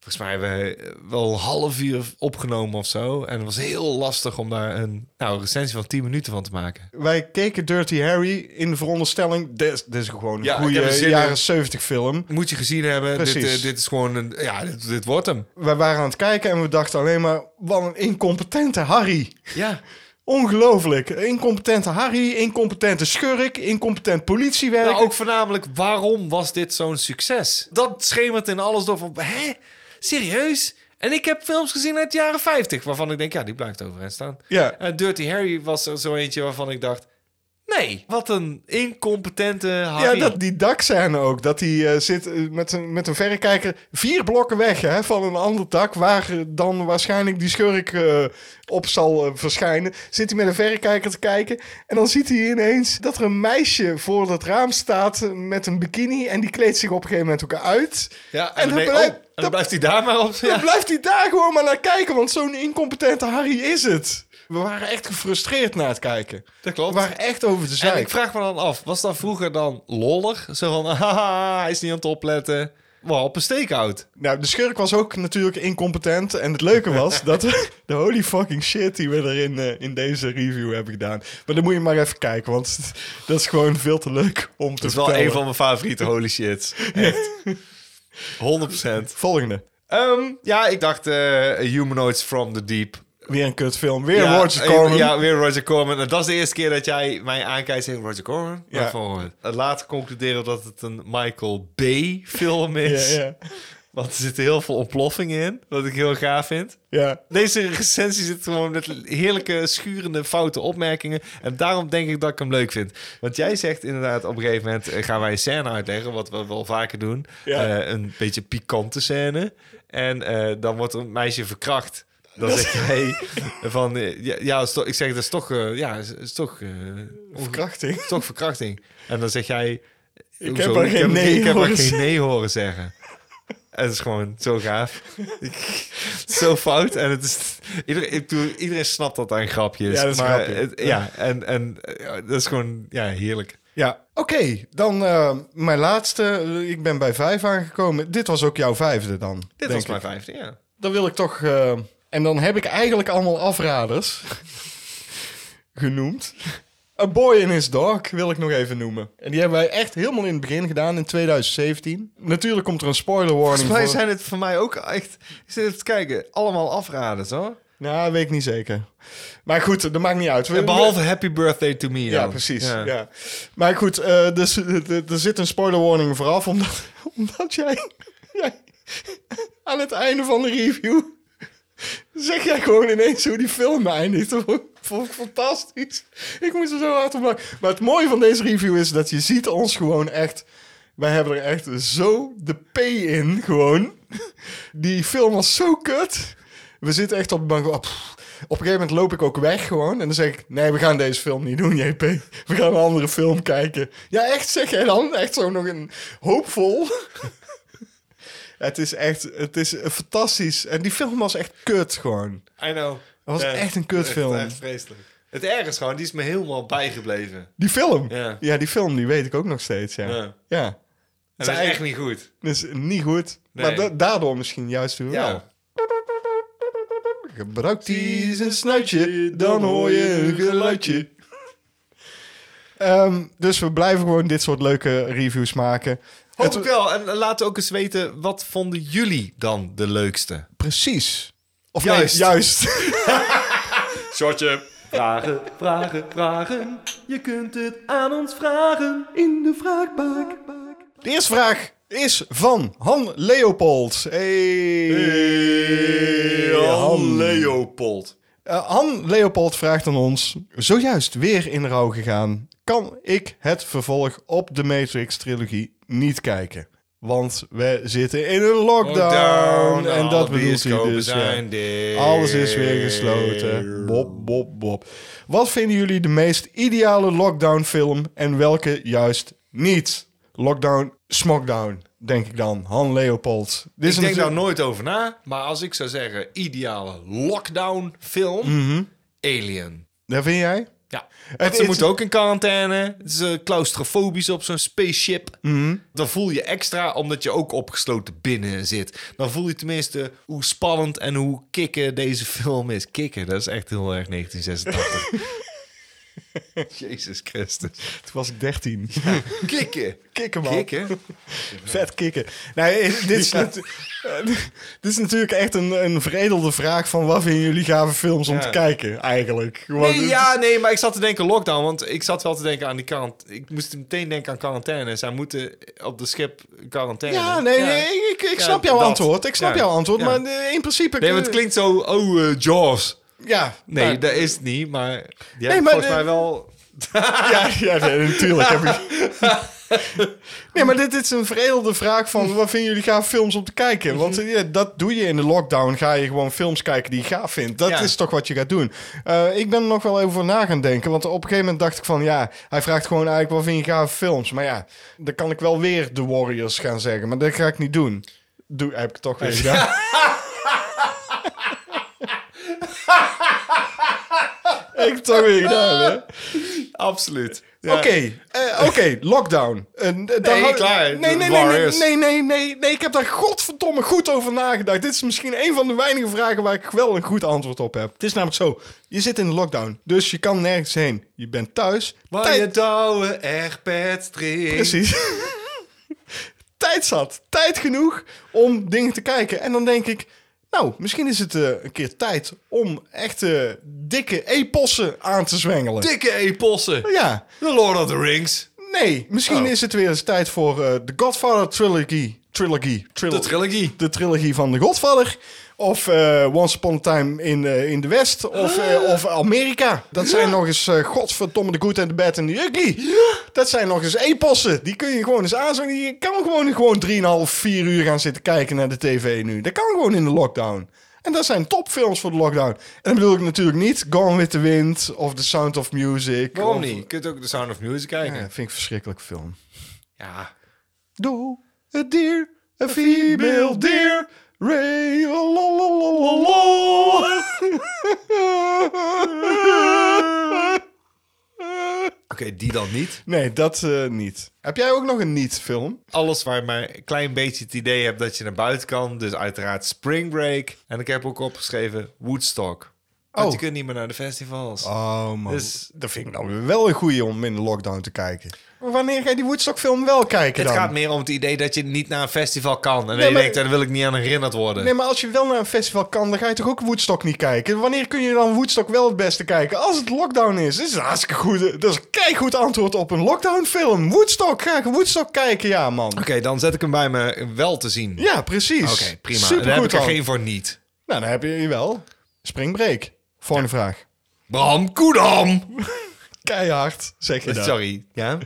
Speaker 2: Volgens mij hebben we eh, wel een half uur opgenomen of zo. En het was heel lastig om daar een, nou, een recensie van 10 minuten van te maken.
Speaker 1: Wij keken Dirty Harry in de veronderstelling... Dit is, dit is gewoon een
Speaker 2: Ja, ik heb er
Speaker 1: goede
Speaker 2: zin in.
Speaker 1: jaren 70 film.
Speaker 2: Moet je gezien hebben. Dit,
Speaker 1: Precies.
Speaker 2: eh, dit is gewoon een... Ja, dit, dit wordt hem.
Speaker 1: Wij waren aan het kijken en we dachten alleen maar... Wat een incompetente Harry.
Speaker 2: Ja.
Speaker 1: Ongelooflijk. Incompetente Harry, incompetente schurk, incompetent politiewerk.
Speaker 2: Nou, ook voornamelijk, waarom was dit zo'n succes? Dat schemert in alles door van, hè? Serieus? En ik heb films gezien uit de jaren 50, waarvan ik denk, ja, die blijft overeind staan.
Speaker 1: Ja.
Speaker 2: En Dirty Harry was er zo eentje waarvan ik dacht, nee, wat een incompetente
Speaker 1: Ja,
Speaker 2: Harry.
Speaker 1: dat, die dak zijn ook. Dat hij eh, zit eh, met, een, met een verrekijker vier blokken weg hè, van een ander dak... waar eh, dan waarschijnlijk die schurk eh, op zal eh, verschijnen. Zit hij met een verrekijker te kijken... en dan ziet hij ineens dat er een meisje voor het raam staat... eh, met een bikini en die kleedt zich op een gegeven moment ook uit.
Speaker 2: ja, en,
Speaker 1: en
Speaker 2: dan,
Speaker 1: dat
Speaker 2: ben-
Speaker 1: blijkt-
Speaker 2: oh, en dan
Speaker 1: dat-
Speaker 2: blijft hij daar maar op.
Speaker 1: Dan
Speaker 2: Ja.
Speaker 1: blijft hij daar gewoon maar naar kijken... want zo'n incompetente Harry is het. We waren echt gefrustreerd na het kijken.
Speaker 2: Dat
Speaker 1: We
Speaker 2: klopt.
Speaker 1: waren echt over de
Speaker 2: en
Speaker 1: zaak.
Speaker 2: ik vraag me dan af, was dat vroeger dan lollig? Zo van, [LAUGHS] haha, hij is niet aan het opletten. Wow, op een steekhoud.
Speaker 1: Nou, de schurk was ook natuurlijk incompetent. En het leuke
Speaker 2: [LAUGHS]
Speaker 1: was dat we de holy fucking shit die we erin eh, in deze review hebben gedaan. Maar dan moet je maar even kijken, want [LAUGHS] dat is gewoon veel te leuk om te
Speaker 2: Dat is wel
Speaker 1: vertellen.
Speaker 2: een van mijn favoriete holy
Speaker 1: [LAUGHS]
Speaker 2: shits. Echt. 100%.
Speaker 1: Volgende.
Speaker 2: Ehm, ja, ik dacht eh, Humanoids from the Deep.
Speaker 1: Weer een kutfilm. Weer
Speaker 2: ja,
Speaker 1: Roger
Speaker 2: eh,
Speaker 1: Corman.
Speaker 2: Ja, weer Roger Corman. En Dat is de eerste keer dat jij mij aankijkt en zegt Roger Corman.
Speaker 1: Ja.
Speaker 2: Ja. Eh, Later concluderen dat het een Michael Bay film
Speaker 1: ja,
Speaker 2: is.
Speaker 1: ja,
Speaker 2: Want er zitten heel veel ontploffingen in, wat ik heel gaaf vind.
Speaker 1: ja.
Speaker 2: Deze recensie zit gewoon met heerlijke, schurende, foute opmerkingen. En daarom denk ik dat ik hem leuk vind. Want jij zegt inderdaad, op een gegeven moment eh, gaan wij een scène uitleggen, wat we wel vaker doen.
Speaker 1: Ja.
Speaker 2: Eh, een beetje pikante scène. En eh, dan wordt een meisje verkracht. Dan zeg jij van, eh, ja, ja is toch- ik zeg, dat is toch, eh, ja, is, is toch, eh, onge-
Speaker 1: Verkrachting.
Speaker 2: is [LAUGHS] toch verkrachting. En dan zeg jij,
Speaker 1: Ik
Speaker 2: hoezo?
Speaker 1: heb er geen nee
Speaker 2: ik heb
Speaker 1: horen
Speaker 2: er geen
Speaker 1: zeggen.
Speaker 2: nee horen zeggen. En het is gewoon zo gaaf. zo fout. En het is, iedereen, ik bedoel, iedereen snapt dat aan grapjes.
Speaker 1: Ja, dat is een
Speaker 2: maar
Speaker 1: grapje.
Speaker 2: het- ja, en, en eh, dat is gewoon ja, heerlijk.
Speaker 1: Ja, oké. Dan eh, mijn laatste. Ik ben bij vijf aangekomen. Dit was ook jouw vijfde dan.
Speaker 2: Dit
Speaker 1: denk
Speaker 2: was
Speaker 1: ik.
Speaker 2: mijn vijfde, ja.
Speaker 1: Dan wil ik toch... eh, en dan heb ik eigenlijk allemaal afraders [LAUGHS] genoemd. A Boy in His Dog wil ik nog even noemen. En die hebben wij echt helemaal in het begin gedaan in 2017. Natuurlijk komt er een spoiler warning
Speaker 2: Volgens mij
Speaker 1: voor.
Speaker 2: zijn het voor mij ook echt... Ik zit even te kijken. Allemaal afraden, hoor.
Speaker 1: Nou, weet ik niet zeker. Maar goed, dat maakt niet uit. We-
Speaker 2: Behalve Happy Birthday to Me
Speaker 1: Ja,
Speaker 2: dan.
Speaker 1: precies. Ja. Maar goed, eh, dus, eh, er- er zit een spoiler warning vooraf, omdat, [LAUGHS] omdat jij, [LAUGHS] jij aan het einde van de review zeg jij gewoon ineens hoe die film eindigt. Dat vond ik fantastisch. Ik moest er zo hard om lachen. Maar het mooie van deze review is dat je ziet ons gewoon echt... Wij hebben er echt zo de P in, gewoon. Die film was zo kut. We zitten echt op de bank. oh, pff. Op een gegeven moment loop ik ook weg gewoon. En dan zeg ik, nee, we gaan deze film niet doen, JP. We gaan een andere film kijken. Ja, echt, zeg jij dan? Echt zo nog een hoopvol. het is echt, het is fantastisch. En die film was echt kut gewoon.
Speaker 2: I know.
Speaker 1: Dat was echt een kutfilm.
Speaker 2: Echt, echt vreselijk. Het ergste is gewoon, die is me helemaal bijgebleven.
Speaker 1: Die film?
Speaker 2: Ja.
Speaker 1: die film, die weet ik ook nog steeds, ja.
Speaker 2: Ja.
Speaker 1: Ja.
Speaker 2: En dat is echt niet goed.
Speaker 1: Dus niet goed.
Speaker 2: Nee.
Speaker 1: Maar da- daardoor misschien juist wel.
Speaker 2: Ja.
Speaker 1: Gebruik die zijn snuitje, dan hoor je een geluidje. Ehm, dus we blijven gewoon dit soort leuke reviews maken.
Speaker 2: Hoop
Speaker 1: Het-
Speaker 2: ik wel. En laat ook eens weten, wat vonden jullie dan de leukste?
Speaker 1: Precies. Of
Speaker 2: Juist.
Speaker 1: Nee, [LAUGHS] juist.
Speaker 2: Shotje.
Speaker 6: Vragen, vragen, vragen. Je kunt het aan ons vragen in de vraagbak.
Speaker 1: De eerste vraag is van Han Leopold. Hey.
Speaker 2: Han Leopold.
Speaker 1: Eh, Han Leopold vraagt aan ons: zojuist weer in rouw gegaan. Kan ik het vervolg op de Matrix-trilogie niet kijken? Want we zitten in een lockdown. en dat bedoelt hij dus. ja. Alles is weer gesloten. Bob, bob, bob. Wat vinden jullie de meest ideale lockdown-film en welke juist niet? Lockdown, smockdown, denk ik dan. Han Leopold. Dit
Speaker 2: Ik denk daar
Speaker 1: natuurlijk-
Speaker 2: nooit over na, maar als ik zou zeggen ideale lockdown film,
Speaker 1: Mhm.
Speaker 2: Alien.
Speaker 1: Dat vind jij?
Speaker 2: Ja.
Speaker 1: Het
Speaker 2: Ze
Speaker 1: is-
Speaker 2: moeten ook in quarantaine. Het is eh, claustrofobisch op zo'n spaceship.
Speaker 1: Mhm.
Speaker 2: Dan voel je extra omdat je ook opgesloten binnen zit. Dan voel je tenminste hoe spannend en hoe kicken deze [LAUGHS] film is. Kikken, dat is echt heel erg
Speaker 1: [LAUGHS]
Speaker 2: 1986. Jezus Christus.
Speaker 1: Toen was ik 13.
Speaker 2: Kikken.
Speaker 1: Kikken, man.
Speaker 2: Kikken.
Speaker 1: Vet kikken. Nou, eh, [LAUGHS] dit, is natu- eh, [LAUGHS] dit is natuurlijk echt een, een veredelde vraag van wat vinden jullie gave films om
Speaker 2: Ja.
Speaker 1: te kijken, eigenlijk. Want
Speaker 2: Nee,
Speaker 1: het-
Speaker 2: ja, nee, maar ik zat te denken lockdown, want ik zat wel te denken aan die kant. Ik moest meteen denken aan quarantaine. Zij moeten op de schip quarantaine.
Speaker 1: Ja, nee, nee, ik, ik
Speaker 2: Ja,
Speaker 1: snap jouw
Speaker 2: dat.
Speaker 1: antwoord. Ik snap
Speaker 2: Ja.
Speaker 1: jouw antwoord,
Speaker 2: Ja.
Speaker 1: maar eh, in principe...
Speaker 2: Nee, want het klinkt zo, oh, eh, Jaws.
Speaker 1: Ja.
Speaker 2: Nee,
Speaker 1: nou,
Speaker 2: dat is het niet, maar... Ja,
Speaker 1: Nee, maar
Speaker 2: volgens
Speaker 1: de-
Speaker 2: mij wel...
Speaker 1: [LAUGHS] Ja, ja nee, natuurlijk. Heb ik... [LAUGHS] Nee, maar dit, dit is een veredelde vraag van wat vinden jullie gaaf films om te kijken? Want eh, ja, dat doe je in de lockdown. Ga je gewoon films kijken die je gaaf vindt. Dat
Speaker 2: Ja.
Speaker 1: is toch wat je gaat doen. Eh, ik ben er nog wel even voor na gaan denken. Want op een gegeven moment dacht ik van ja, hij vraagt gewoon eigenlijk wat vind je gaaf films? Maar ja, dan kan ik wel weer The Warriors gaan zeggen. Maar dat ga ik niet doen. Doe, heb ik het toch weer [LAUGHS] gedaan. Ik heb het toch weer gedaan, hè?
Speaker 2: Ah! Absoluut. Ja.
Speaker 1: Oké, eh, oké, lockdown. Eh, daar
Speaker 2: Nee,
Speaker 1: hou-
Speaker 2: klaar.
Speaker 1: Nee, nee, nee, nee,
Speaker 2: Warriors.
Speaker 1: nee, nee, nee, nee, Ik heb daar godverdomme goed over nagedacht. Dit is misschien een van de weinige vragen waar ik wel een goed antwoord op heb. Het is namelijk zo. Je zit in de lockdown, dus je kan nergens heen. Je bent thuis. [LAUGHS]
Speaker 2: Maar
Speaker 1: Tijd-
Speaker 2: je douwe echt petstring.
Speaker 1: Precies. tijd zat. Tijd genoeg om dingen te kijken. En dan denk ik, nou, misschien is het eh, een keer tijd om echte dikke epossen aan te zwengelen.
Speaker 2: Dikke epossen.
Speaker 1: ja.
Speaker 2: The Lord of the Rings.
Speaker 1: Nee, misschien
Speaker 2: Oh.
Speaker 1: is het weer eens tijd voor eh, de Godfather trilogy. Trilogy. Tril-
Speaker 2: De trilogie.
Speaker 1: de trilogie van de Godfather. Of eh, Once Upon a Time in, eh, in de West. Of,
Speaker 2: Ah.
Speaker 1: eh, of Amerika. Dat zijn nog eens eh, godverdomme de Good en de Bad en de Ugly. Dat zijn nog eens epossen. Die kun je gewoon eens aanzien. Je kan gewoon, gewoon 3,5, 4 uur gaan zitten kijken naar de tv nu. Dat kan gewoon in de lockdown. En dat zijn topfilms voor de lockdown. En dan bedoel ik natuurlijk niet Gone with the Wind of The Sound of Music.
Speaker 2: Waarom
Speaker 1: of-
Speaker 2: niet? Je kunt ook The Sound of Music
Speaker 1: Ja,
Speaker 2: kijken.
Speaker 1: vind ik een verschrikkelijke film.
Speaker 2: Ja.
Speaker 1: Do a deer, a female deer, ray, lololololol.
Speaker 2: Oké, die dan niet.
Speaker 1: Nee, dat eh, niet. Heb jij ook nog een niet-film?
Speaker 2: Alles waar je maar een klein beetje het idee hebt dat je naar buiten kan. Dus uiteraard Spring Break. En ik heb ook opgeschreven Woodstock. Want
Speaker 1: Oh.
Speaker 2: je kunt niet meer naar de festivals.
Speaker 1: Oh man,
Speaker 2: Dus-
Speaker 1: dat vind ik nou weer wel een goeie om in de lockdown te kijken. Maar wanneer ga je die Woodstock-film wel kijken
Speaker 2: Het
Speaker 1: dan?
Speaker 2: gaat meer om het idee dat je niet naar een festival kan. En dan
Speaker 1: Nee,
Speaker 2: je
Speaker 1: maar-
Speaker 2: denkt, daar wil ik niet aan herinnerd worden.
Speaker 1: Nee, maar als je wel naar een festival kan, dan ga je toch ook Woodstock niet kijken? Wanneer kun je dan Woodstock wel het beste kijken? Als het lockdown is. Dat is een hartstikke goed, dat is een keigoed antwoord op een lockdown film. Woodstock, ga ik Woodstock kijken, ja man.
Speaker 2: Oké, dan zet ik hem bij me wel te zien.
Speaker 1: Ja, precies.
Speaker 2: Oké, prima.
Speaker 1: Supergoed
Speaker 2: Daar heb ik er
Speaker 1: dan.
Speaker 2: geen voor niet.
Speaker 1: Nou, dan heb je je wel. Springbreak. Volgende vraag.
Speaker 2: Bram Koedam!
Speaker 1: Keihard, zeg je dat.
Speaker 2: Sorry. Ja?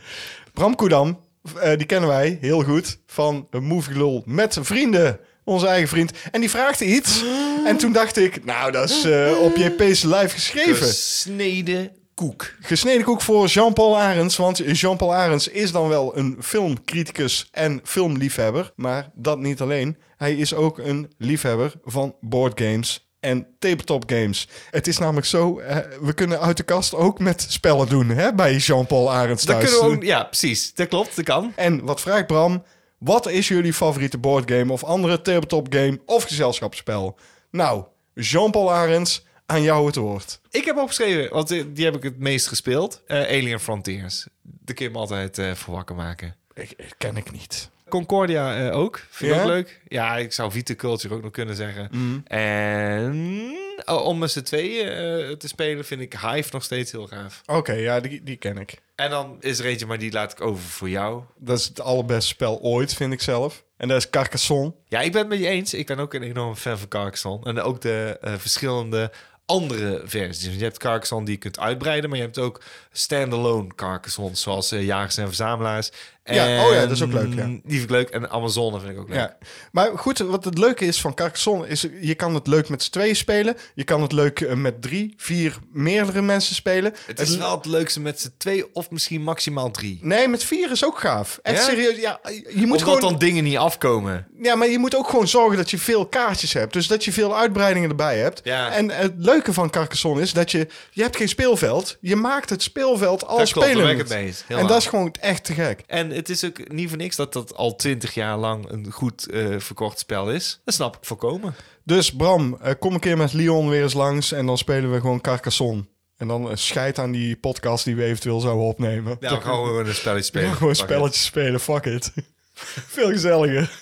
Speaker 1: Bram Koedam, eh, die kennen wij heel goed van een Movie Lul met vrienden. Onze eigen vriend. En die vraagde iets. En toen dacht ik, nou, dat is eh, op JP's live geschreven.
Speaker 2: Gesneden koek.
Speaker 1: Gesneden koek voor Jean-Paul Arends. Want Jean-Paul Arends is dan wel een filmcriticus en filmliefhebber. Maar dat niet alleen. Hij is ook een liefhebber van boardgames en tabletop games. Het is namelijk zo, eh, we kunnen uit de kast ook met spellen doen hè, bij Jean-Paul Arends
Speaker 2: Dat
Speaker 1: thuis.
Speaker 2: kunnen we ook... Ja, precies. Dat klopt, dat kan.
Speaker 1: En wat vraagt Bram? Wat is jullie favoriete boardgame of andere tabletop game of gezelschapsspel? Nou, Jean-Paul Arends, aan jou het woord.
Speaker 2: Ik heb opgeschreven, want eh, die die heb ik het meest gespeeld. Eh, Alien Frontiers. Daar kun je me altijd eh voor wakker maken.
Speaker 1: Ik, ken ik niet.
Speaker 2: Concordia eh, ook. Vind je
Speaker 1: Ja? Mm.
Speaker 2: ook leuk? Ja, ik zou Vita Culture ook nog kunnen zeggen. En oh, om met z'n tweeën eh, te spelen vind ik Hive nog steeds heel gaaf.
Speaker 1: Oké, ja, die, die ken ik.
Speaker 2: En dan is er eentje, maar die laat ik over voor jou.
Speaker 1: Dat is het allerbeste spel ooit, vind ik zelf. En dat is Carcassonne.
Speaker 2: Ja, ik ben het met je eens. Ik ben ook een enorme fan van Carcassonne. En ook de eh, verschillende andere versies. Want je hebt Carcassonne die je kunt uitbreiden, maar je hebt ook standalone Carcassonne, zoals eh, Jagers en Verzamelaars.
Speaker 1: Ja, oh ja, dat is ook leuk, ja.
Speaker 2: Die vind ik leuk. En Amazone vind ik ook leuk.
Speaker 1: Ja. Maar goed, wat het leuke is van Carcassonne is... je kan het leuk met z'n tweeën spelen. Je kan het leuk eh, met drie, vier, meerdere mensen spelen.
Speaker 2: Het is wel het leukste met z'n twee of misschien maximaal drie. Je
Speaker 1: Nee, met vier is ook gaaf. Echt
Speaker 2: Ja?
Speaker 1: serieus. Ja, je moet
Speaker 2: Omdat
Speaker 1: gewoon...
Speaker 2: dan dingen niet afkomen.
Speaker 1: Ja, maar je moet ook gewoon zorgen dat je veel kaartjes hebt. Dus dat je veel uitbreidingen erbij hebt.
Speaker 2: Ja.
Speaker 1: En het leuke van Carcassonne is dat je... Je hebt geen speelveld. Je maakt het speelveld al
Speaker 2: Daar klopt, daar
Speaker 1: spelend.
Speaker 2: ben ik het mee eens. Heel
Speaker 1: en dat
Speaker 2: waar.
Speaker 1: is gewoon echt te gek.
Speaker 2: En het is ook niet voor niks dat dat al twintig jaar lang een goed eh, verkocht spel is. Dat snap ik voorkomen.
Speaker 1: Dus Bram, eh, kom een keer met Leon weer eens langs en dan spelen we gewoon Carcassonne. En dan eh, scheid aan die podcast die we eventueel zouden opnemen.
Speaker 2: Nou, dan gaan we gewoon een spelletje spelen.
Speaker 1: [LAUGHS] Gewoon
Speaker 2: Fuck it.
Speaker 1: spelletjes spelen, fuck it. [LAUGHS] Veel gezelliger. [LAUGHS]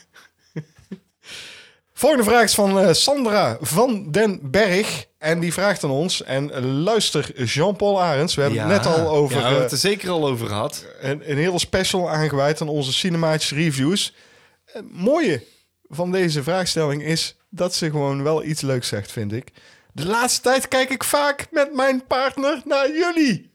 Speaker 1: Volgende vraag is van eh, Sandra van den Berg. En die vraagt aan ons. En eh, luister, Jean-Paul Arends. We hebben
Speaker 2: Ja.
Speaker 1: het net al over
Speaker 2: Ja, we hebben
Speaker 1: eh,
Speaker 2: het er zeker al over gehad.
Speaker 1: een, een hele special aangeweid aan onze cinematische reviews. Het mooie van deze vraagstelling is dat ze gewoon wel iets leuks zegt, vind ik. De laatste tijd kijk ik vaak met mijn partner naar jullie.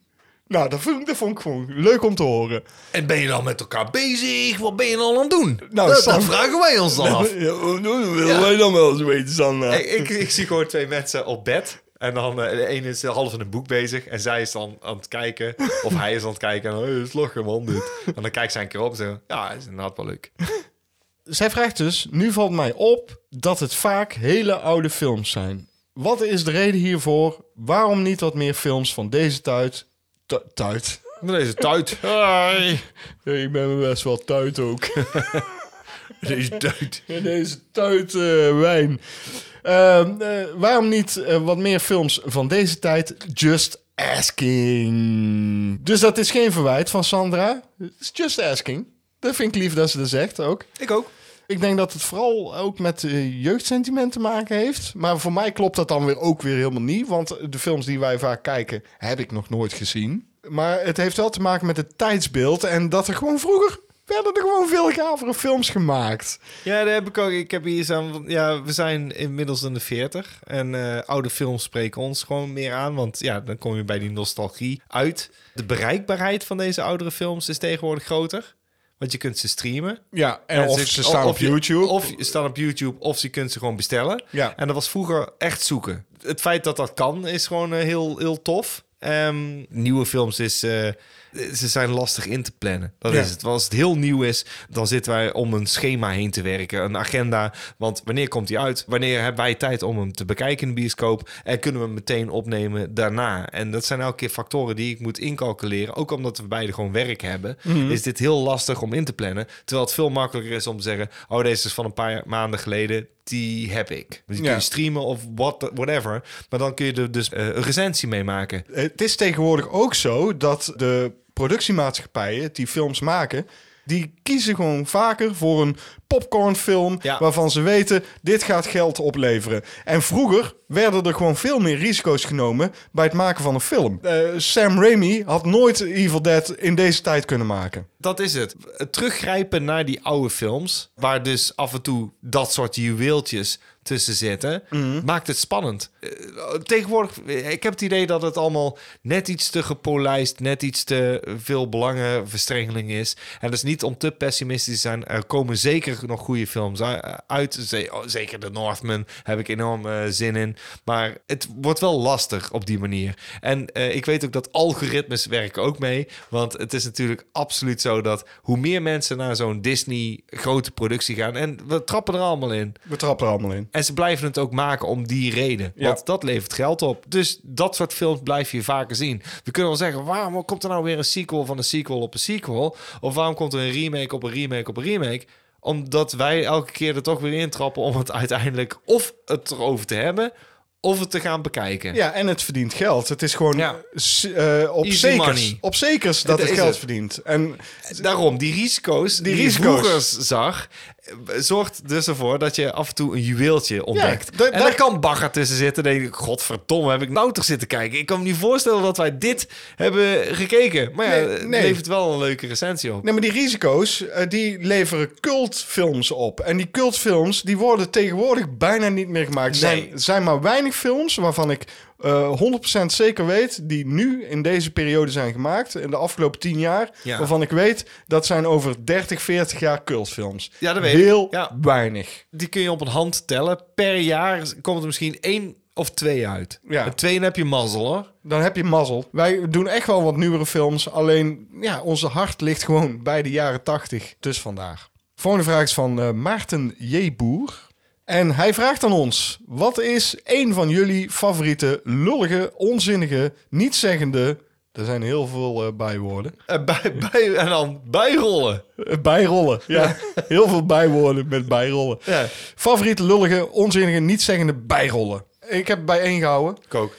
Speaker 1: Nou, dat vond, dat vond ik gewoon leuk om te horen.
Speaker 2: En ben je dan met elkaar bezig? Wat ben je dan aan het doen?
Speaker 1: Nou,
Speaker 2: dat,
Speaker 1: Sam-
Speaker 2: dat vragen wij ons dan af.
Speaker 1: Ja, wat willen wij dan wel eens weten, Sandra?
Speaker 2: ik, ik, ik zie gewoon twee mensen op bed. En dan eh, de ene is half in een boek bezig. En zij is dan aan het kijken. Of hij is aan het kijken. En dan, hey, dat is lachen, man, dit. En dan kijkt zij een keer op en zegt... Ja, dat is inderdaad wel leuk.
Speaker 1: Zij vraagt dus, nu valt mij op dat het vaak hele oude films zijn. Wat is de reden hiervoor? Waarom niet wat meer films van deze tuit... tu- Tuit?
Speaker 2: Deze tuit. Hoi.
Speaker 1: Ja, ik ben best wel tuit ook. [LAUGHS]
Speaker 2: Deze tuit.
Speaker 1: Ja, deze tuit eh, wijn. Ehm, eh, waarom niet eh, wat meer films van deze tijd? Just asking. Dus dat is geen verwijt van Sandra. Het is just asking. Dat vind ik lief dat ze dat zegt ook.
Speaker 2: Ik ook.
Speaker 1: Ik denk dat het vooral ook met eh, jeugdsentiment te maken heeft. Maar voor mij klopt dat dan weer ook weer helemaal niet. Want de films die wij vaak kijken, heb ik nog nooit gezien. Maar het heeft wel te maken met het tijdsbeeld. En dat er gewoon vroeger werden er gewoon veel gavere films gemaakt.
Speaker 2: Ja, daar heb ik ook. Ik heb hier staan. van- Ja, we zijn inmiddels in de 40. En eh, oude films spreken ons gewoon meer aan. Want ja, dan kom je bij die nostalgie uit. De bereikbaarheid van deze oudere films is tegenwoordig groter. Want je kunt ze streamen.
Speaker 1: Ja, en,
Speaker 2: En
Speaker 1: of ze staan op
Speaker 2: je-
Speaker 1: YouTube.
Speaker 2: of ze staan op YouTube, of ze kunt ze gewoon bestellen.
Speaker 1: Ja.
Speaker 2: En dat was vroeger echt zoeken. Het feit dat dat kan, is gewoon eh, heel, heel tof. Ehm, nieuwe films is... eh, ze zijn lastig in te plannen. Dat
Speaker 1: Ja.
Speaker 2: is het. Als het heel nieuw is, dan zitten wij om een schema heen te werken. Een agenda. Want wanneer komt die uit? Wanneer hebben wij tijd om hem te bekijken in de bioscoop? En kunnen we hem meteen opnemen daarna? En dat zijn elke keer factoren die ik moet incalculeren. Ook omdat we beide gewoon werk hebben,
Speaker 1: Mhm.
Speaker 2: is dit heel lastig om in te plannen. Terwijl het veel makkelijker is om te zeggen: Oh, deze is van een paar maanden geleden. Die heb ik. Dus die kun
Speaker 1: Ja.
Speaker 2: je streamen of what, whatever. Maar dan kun je er dus eh, een recensie mee maken.
Speaker 1: Het is tegenwoordig ook zo dat de productiemaatschappijen die films maken, die kiezen gewoon vaker voor een popcornfilm
Speaker 2: Ja.
Speaker 1: waarvan ze weten dit gaat geld opleveren. En vroeger werden er gewoon veel meer risico's genomen bij het maken van een film. Eh, Sam Raimi had nooit Evil Dead in deze tijd kunnen maken.
Speaker 2: Dat is het. Het teruggrijpen naar die oude films, waar dus af en toe dat soort juweeltjes tussen zitten, maakt het spannend. Eh, tegenwoordig, eh, ik heb het idee dat het allemaal net iets te gepolijst, net iets te veel belangenverstrengeling is. En dat is niet om te pessimistisch te zijn. Er komen zeker nog goede films u- uit. Ze- oh, Zeker de Northman heb ik enorm eh, zin in. Maar het wordt wel lastig op die manier. En eh, ik weet ook dat algoritmes werken ook mee. Want het is natuurlijk absoluut zo dat hoe meer mensen naar zo'n Disney grote productie gaan. En we trappen er allemaal in.
Speaker 1: We trappen er allemaal in.
Speaker 2: En ze blijven het ook maken om die reden.
Speaker 1: Ja.
Speaker 2: Want dat levert geld op. Dus dat soort films blijf je vaker zien. We kunnen wel zeggen, waarom komt er nou weer een sequel van een sequel op een sequel? Of waarom komt er een remake op een remake op een remake? Omdat wij elke keer er toch weer intrappen om het uiteindelijk of het erover te hebben... of het te gaan bekijken.
Speaker 1: Ja, en het verdient geld. Het is gewoon
Speaker 2: Ja.
Speaker 1: s- eh, op,
Speaker 2: Easy
Speaker 1: zekers,
Speaker 2: money.
Speaker 1: op zekers dat
Speaker 2: Dat
Speaker 1: het
Speaker 2: is
Speaker 1: geld
Speaker 2: het.
Speaker 1: verdient. En
Speaker 2: Daarom, die risico's die,
Speaker 1: risico's.
Speaker 2: je vroeger zag... eh, zorgt dus ervoor dat je af en toe een juweeltje ontdekt.
Speaker 1: da-
Speaker 2: en
Speaker 1: daar-
Speaker 2: daar kan bagger tussen zitten. Dan denk ik, godverdomme, heb ik nou toch zitten kijken? Ik kan me niet voorstellen dat wij dit hebben gekeken. Maar ja,
Speaker 1: Nee,
Speaker 2: het
Speaker 1: nee.
Speaker 2: levert wel een leuke recensie op.
Speaker 1: Nee, maar die risico's, eh, die leveren cultfilms op. En die cultfilms, die worden tegenwoordig bijna niet meer gemaakt. Er
Speaker 2: Nee.
Speaker 1: zijn, zijn maar weinig films waarvan ik eh 100% zeker weet... die nu in deze periode zijn gemaakt, in de afgelopen 10 jaar...
Speaker 2: Ja.
Speaker 1: waarvan ik weet, dat zijn over 30, 40 jaar cultfilms.
Speaker 2: Ja, dat weet ik.
Speaker 1: Heel
Speaker 2: Ja.
Speaker 1: weinig.
Speaker 2: Die kun je op een hand tellen. Per jaar komt er misschien één of twee uit.
Speaker 1: Ja.
Speaker 2: En twee heb je mazzel, hoor.
Speaker 1: Dan heb je mazzel. Wij doen echt wel wat nieuwere films. Alleen, ja, onze hart ligt gewoon bij de jaren 80. Dus vandaar. Volgende vraag is van eh, Maarten J. Boer. En hij vraagt aan ons: wat is één van jullie favoriete lullige, onzinnige, niet-zeggende. Er zijn heel veel eh, bijwoorden.
Speaker 2: En, bij, bij, en dan bijrollen.
Speaker 1: Eh, bijrollen. Ja, heel veel bijwoorden met bijrollen.
Speaker 2: Ja.
Speaker 1: Favoriete lullige, onzinnige, niet-zeggende bijrollen. Ik heb bijeen gehouden.
Speaker 2: Kook.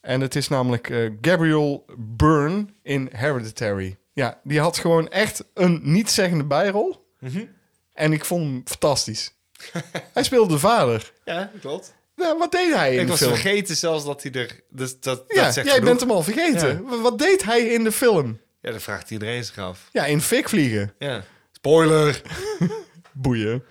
Speaker 1: En het is namelijk eh, Gabriel Byrne in Hereditary. Ja, die had gewoon echt een niet-zeggende bijrol.
Speaker 2: Mhm.
Speaker 1: En ik vond hem fantastisch. [LAUGHS] hij speelde de vader.
Speaker 2: Ja, klopt.
Speaker 1: Nou, wat deed hij in
Speaker 2: Ik
Speaker 1: de
Speaker 2: was
Speaker 1: film?
Speaker 2: vergeten zelfs dat hij er... Dus dat,
Speaker 1: ja,
Speaker 2: dat
Speaker 1: jij
Speaker 2: zegt genoeg.
Speaker 1: bent hem al vergeten. W- Wat deed hij in de film?
Speaker 2: Ja, dat vraagt iedereen zich af.
Speaker 1: Ja, in fik vliegen.
Speaker 2: Ja. Spoiler!
Speaker 1: Boeien.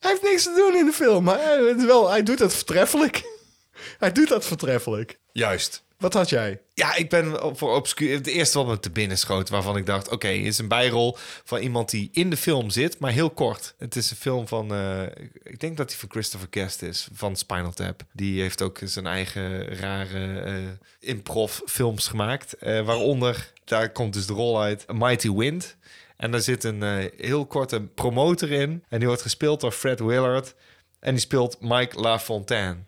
Speaker 1: Hij heeft niks te doen in de film, maar eh, het is wel, hij doet dat vertreffelijk. [LAUGHS] hij doet dat vertreffelijk.
Speaker 2: Juist.
Speaker 1: Wat had jij?
Speaker 2: Ja, ik ben op- voor obscuur. Het eerste wat me te binnen schoot, waarvan ik dacht: oké, het is een bijrol van iemand die in de film zit, maar heel kort. Het is een film van, eh, ik denk dat die van Christopher Guest is, van Spinal Tap. Die heeft ook zijn eigen rare eh improv-films gemaakt, eh, waaronder, daar komt dus de rol uit, Mighty Wind. En daar zit een eh, heel korte promotor in, en die wordt gespeeld door Fred Willard, en die speelt Mike LaFontaine. Eh,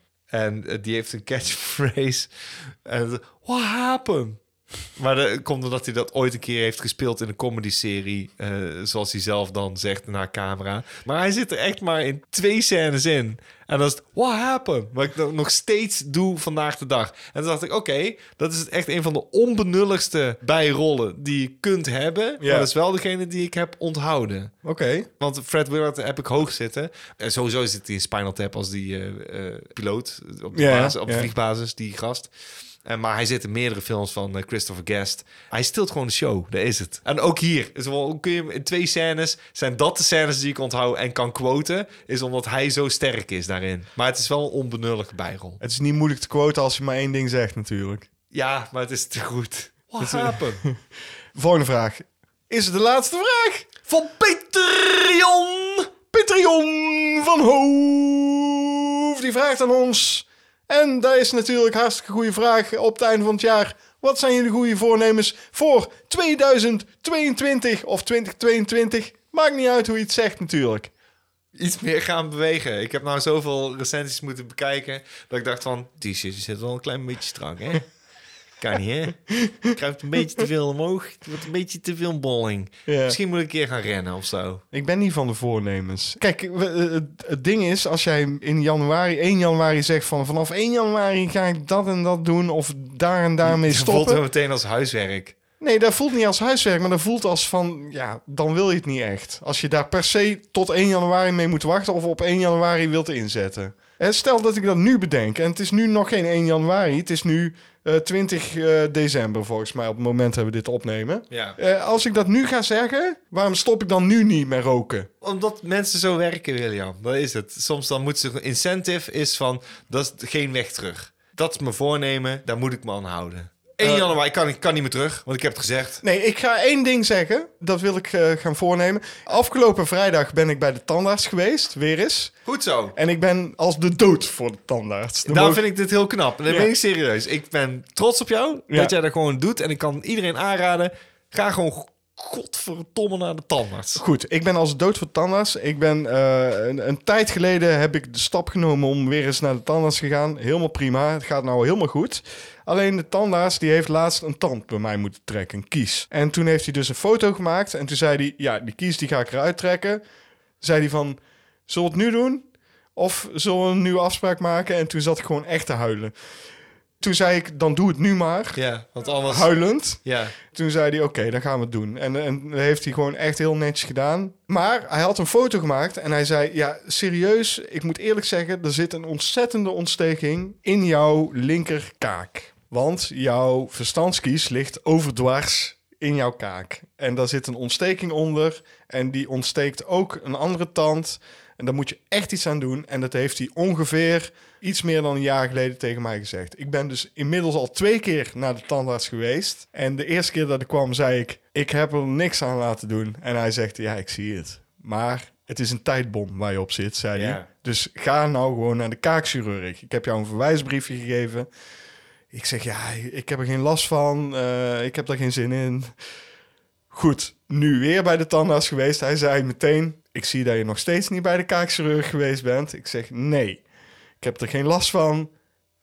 Speaker 2: En eh, die heeft een catchphrase. En, What happened? Maar dat komt omdat hij dat ooit een keer heeft gespeeld in een comedy-serie. eh, zoals hij zelf dan zegt naar camera. Maar hij zit er echt maar in twee scènes in. En dat is het, what happened? Wat ik dan nog steeds doe vandaag de dag. En toen dacht ik, oké, dat is echt een van de onbenulligste bijrollen die je kunt hebben.
Speaker 1: Ja.
Speaker 2: Maar dat is wel degene die ik heb onthouden.
Speaker 1: Oké.
Speaker 2: Want Fred Willard heb ik hoog zitten. En sowieso zit hij in Spinal Tap als die eh, eh, piloot op de,
Speaker 1: Ja,
Speaker 2: basis, op de
Speaker 1: ja.
Speaker 2: vliegbasis, die gast. En, maar hij zit in meerdere films van eh, Christopher Guest. Hij stilt gewoon de show, daar is het. En ook hier, is wel, hoe kun je hem in twee scènes... zijn dat de scènes die ik onthoud en kan quoten... is omdat hij zo sterk is daarin. Maar het is wel een onbenullige bijrol.
Speaker 1: Het is niet moeilijk te quoten als je maar één ding zegt natuurlijk.
Speaker 2: Ja, maar het is te goed. What happened?
Speaker 1: Volgende vraag. Is het de laatste vraag?
Speaker 2: Van Patreon!
Speaker 1: Patreon van Hoof. Die vraagt aan ons. En dat is natuurlijk een hartstikke goede vraag op het einde van het jaar. Wat zijn jullie goede voornemens voor 2022 of 2022? Maakt niet uit hoe je het zegt natuurlijk.
Speaker 2: iets meer gaan bewegen. Ik heb nou zoveel recensies moeten bekijken dat ik dacht van, die shit zit wel een klein beetje strak,
Speaker 1: [LAUGHS]
Speaker 2: hè? Kan niet, hè? Kruipt een beetje te veel omhoog. Het wordt een beetje te veel bolling.
Speaker 1: Ja.
Speaker 2: Misschien moet ik een keer gaan rennen of zo.
Speaker 1: Ik ben niet van de voornemens. Kijk, we- eh, het- het ding is, als jij in januari, 1 januari zegt van vanaf 1 januari ga ik dat en dat doen of daar en daarmee
Speaker 2: Het voelt
Speaker 1: stoppen.
Speaker 2: me meteen als huiswerk.
Speaker 1: Nee, dat voelt niet als huiswerk, maar dat voelt als van, ja, dan wil je het niet echt. Als je daar per se tot 1 januari mee moet wachten of op 1 januari wilt inzetten. Hè, stel dat ik dat nu bedenk en het is nu nog geen 1 januari, het is nu eh, 20 eh, december volgens mij op het moment dat we dit opnemen.
Speaker 2: Ja.
Speaker 1: Eh, als ik dat nu ga zeggen, waarom stop ik dan nu niet met roken?
Speaker 2: Omdat mensen zo werken, William. Dat is het. Soms dan moet ze... een Incentive is van, dat is geen weg terug. Dat is mijn voornemen, daar moet ik me aan houden. 1
Speaker 1: Eh.
Speaker 2: januari, ik kan, ik kan niet meer terug, want ik heb het gezegd.
Speaker 1: Nee, ik ga één ding zeggen. Dat wil ik eh, gaan voornemen. Afgelopen vrijdag ben ik bij de tandarts geweest, weer eens.
Speaker 2: Goed zo.
Speaker 1: En ik ben als de dood voor de tandarts. Dan
Speaker 2: Daarom
Speaker 1: mogen-
Speaker 2: vind ik dit heel knap. Dat
Speaker 1: Ja.
Speaker 2: ben ik serieus. Ik ben trots op jou
Speaker 1: Ja.
Speaker 2: dat jij dat gewoon doet. En ik kan iedereen aanraden. Ga gewoon godverdomme naar de tandarts.
Speaker 1: Goed, ik ben als dood voor tandarts. Ik ben eh, een, een tijd geleden heb ik de stap genomen om weer eens naar de tandarts te gaan. Helemaal prima. Het gaat nou helemaal goed. Alleen de tandarts die heeft laatst een tand bij mij moeten trekken, een kies. En toen heeft hij dus een foto gemaakt en toen zei hij: "Ja, die kies die ga ik eruit trekken." Zei hij van: "Zullen we het nu doen?" Of zullen we een nieuwe afspraak maken? En toen zat ik gewoon echt te huilen. Toen zei ik, dan doe het nu maar.
Speaker 2: Ja, want anders...
Speaker 1: Huilend.
Speaker 2: Ja.
Speaker 1: Toen zei hij, oké, dan gaan we het doen. En, en dat heeft hij gewoon echt heel netjes gedaan. Maar hij had een foto gemaakt en hij zei... Ja, serieus, ik moet eerlijk zeggen... er zit een ontzettende ontsteking in jouw linkerkaak. Want jouw verstandskies ligt overdwars in jouw kaak. En daar zit een ontsteking onder. En die ontsteekt ook een andere tand. En daar moet je echt iets aan doen. En dat heeft hij ongeveer iets meer dan een jaar geleden tegen mij gezegd. Ik ben dus inmiddels al twee keer naar de tandarts geweest. En de eerste keer dat ik kwam, zei ik: Ik heb er niks aan laten doen. En hij zegt: Ja, ik zie het. Maar het is een tijdbom waar je op zit, zei
Speaker 2: Ja.
Speaker 1: hij. Dus ga nou gewoon naar de kaakchirurg. Ik heb jou een verwijsbriefje gegeven. Ik zeg: Ja, ik heb er geen last van. Eh, ik heb daar geen zin in. Goed, nu weer bij de tandarts geweest. Hij zei meteen: Ik zie dat je nog steeds niet bij de kaakchirurg geweest bent. Ik zeg: Nee, ik heb er geen last van.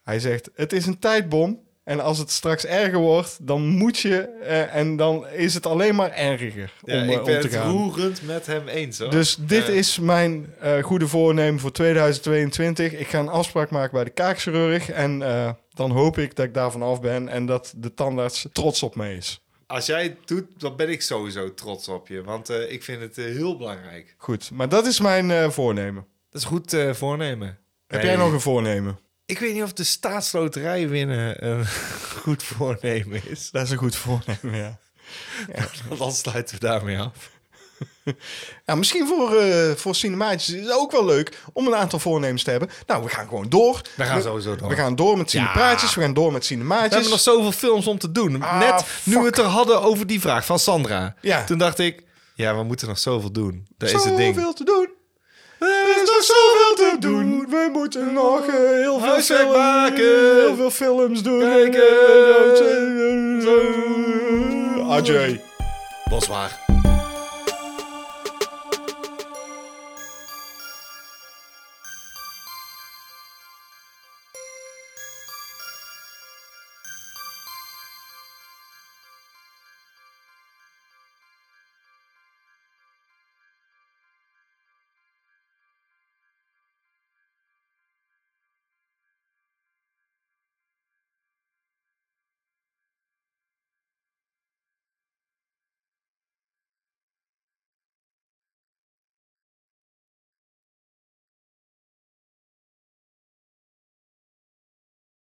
Speaker 1: Hij zegt: Het is een tijdbom. En als het straks erger wordt, dan moet je. eh, en dan is het alleen maar erger
Speaker 2: Ja,
Speaker 1: om, eh,
Speaker 2: ik ben
Speaker 1: om te
Speaker 2: het
Speaker 1: gaan.
Speaker 2: roerend met hem eens. Hoor.
Speaker 1: Dus dit
Speaker 2: Eh,
Speaker 1: is mijn eh, goede voornemen voor 2022. Ik ga een afspraak maken bij de kaakchirurg. En eh, dan hoop ik dat ik daarvan af ben. En dat de tandarts trots op me is.
Speaker 2: Als jij het doet, dan ben ik sowieso trots op je. Want eh, ik vind het eh, heel belangrijk.
Speaker 1: Goed, maar dat is mijn eh, voornemen.
Speaker 2: Dat is goed voornemen.
Speaker 1: eh, Heb jij nog een voornemen?
Speaker 2: Ik weet niet of de staatsloterij winnen een [LAUGHS] goed voornemen
Speaker 1: [LAUGHS]
Speaker 2: is.
Speaker 1: Dat is een goed voornemen, ja.
Speaker 2: Dan sluiten we daarmee af.
Speaker 1: Ja, misschien voor, eh voor cinemaatjes is het ook wel leuk om een aantal voornemens te hebben. Nou, we gaan gewoon door.
Speaker 2: We gaan sowieso door.
Speaker 1: We gaan door met cinepraatjes, we gaan door met
Speaker 2: We hebben
Speaker 1: cinemaatjes.
Speaker 2: nog zoveel films om te doen.
Speaker 1: Dus- Ah,
Speaker 2: Net nu
Speaker 1: fuck.
Speaker 2: we het er hadden over die vraag van Sandra.
Speaker 1: Ja.
Speaker 2: Toen dacht ik, ja, we moeten nog zoveel doen. Dat is het ding.
Speaker 1: Zoveel te doen. Er is nog zoveel te doen. We moeten nog eh, heel veel
Speaker 2: Huiswerk
Speaker 1: films
Speaker 2: maken.
Speaker 1: Heel veel films doen.
Speaker 2: Kijken.
Speaker 1: Ajay.
Speaker 2: Was waar.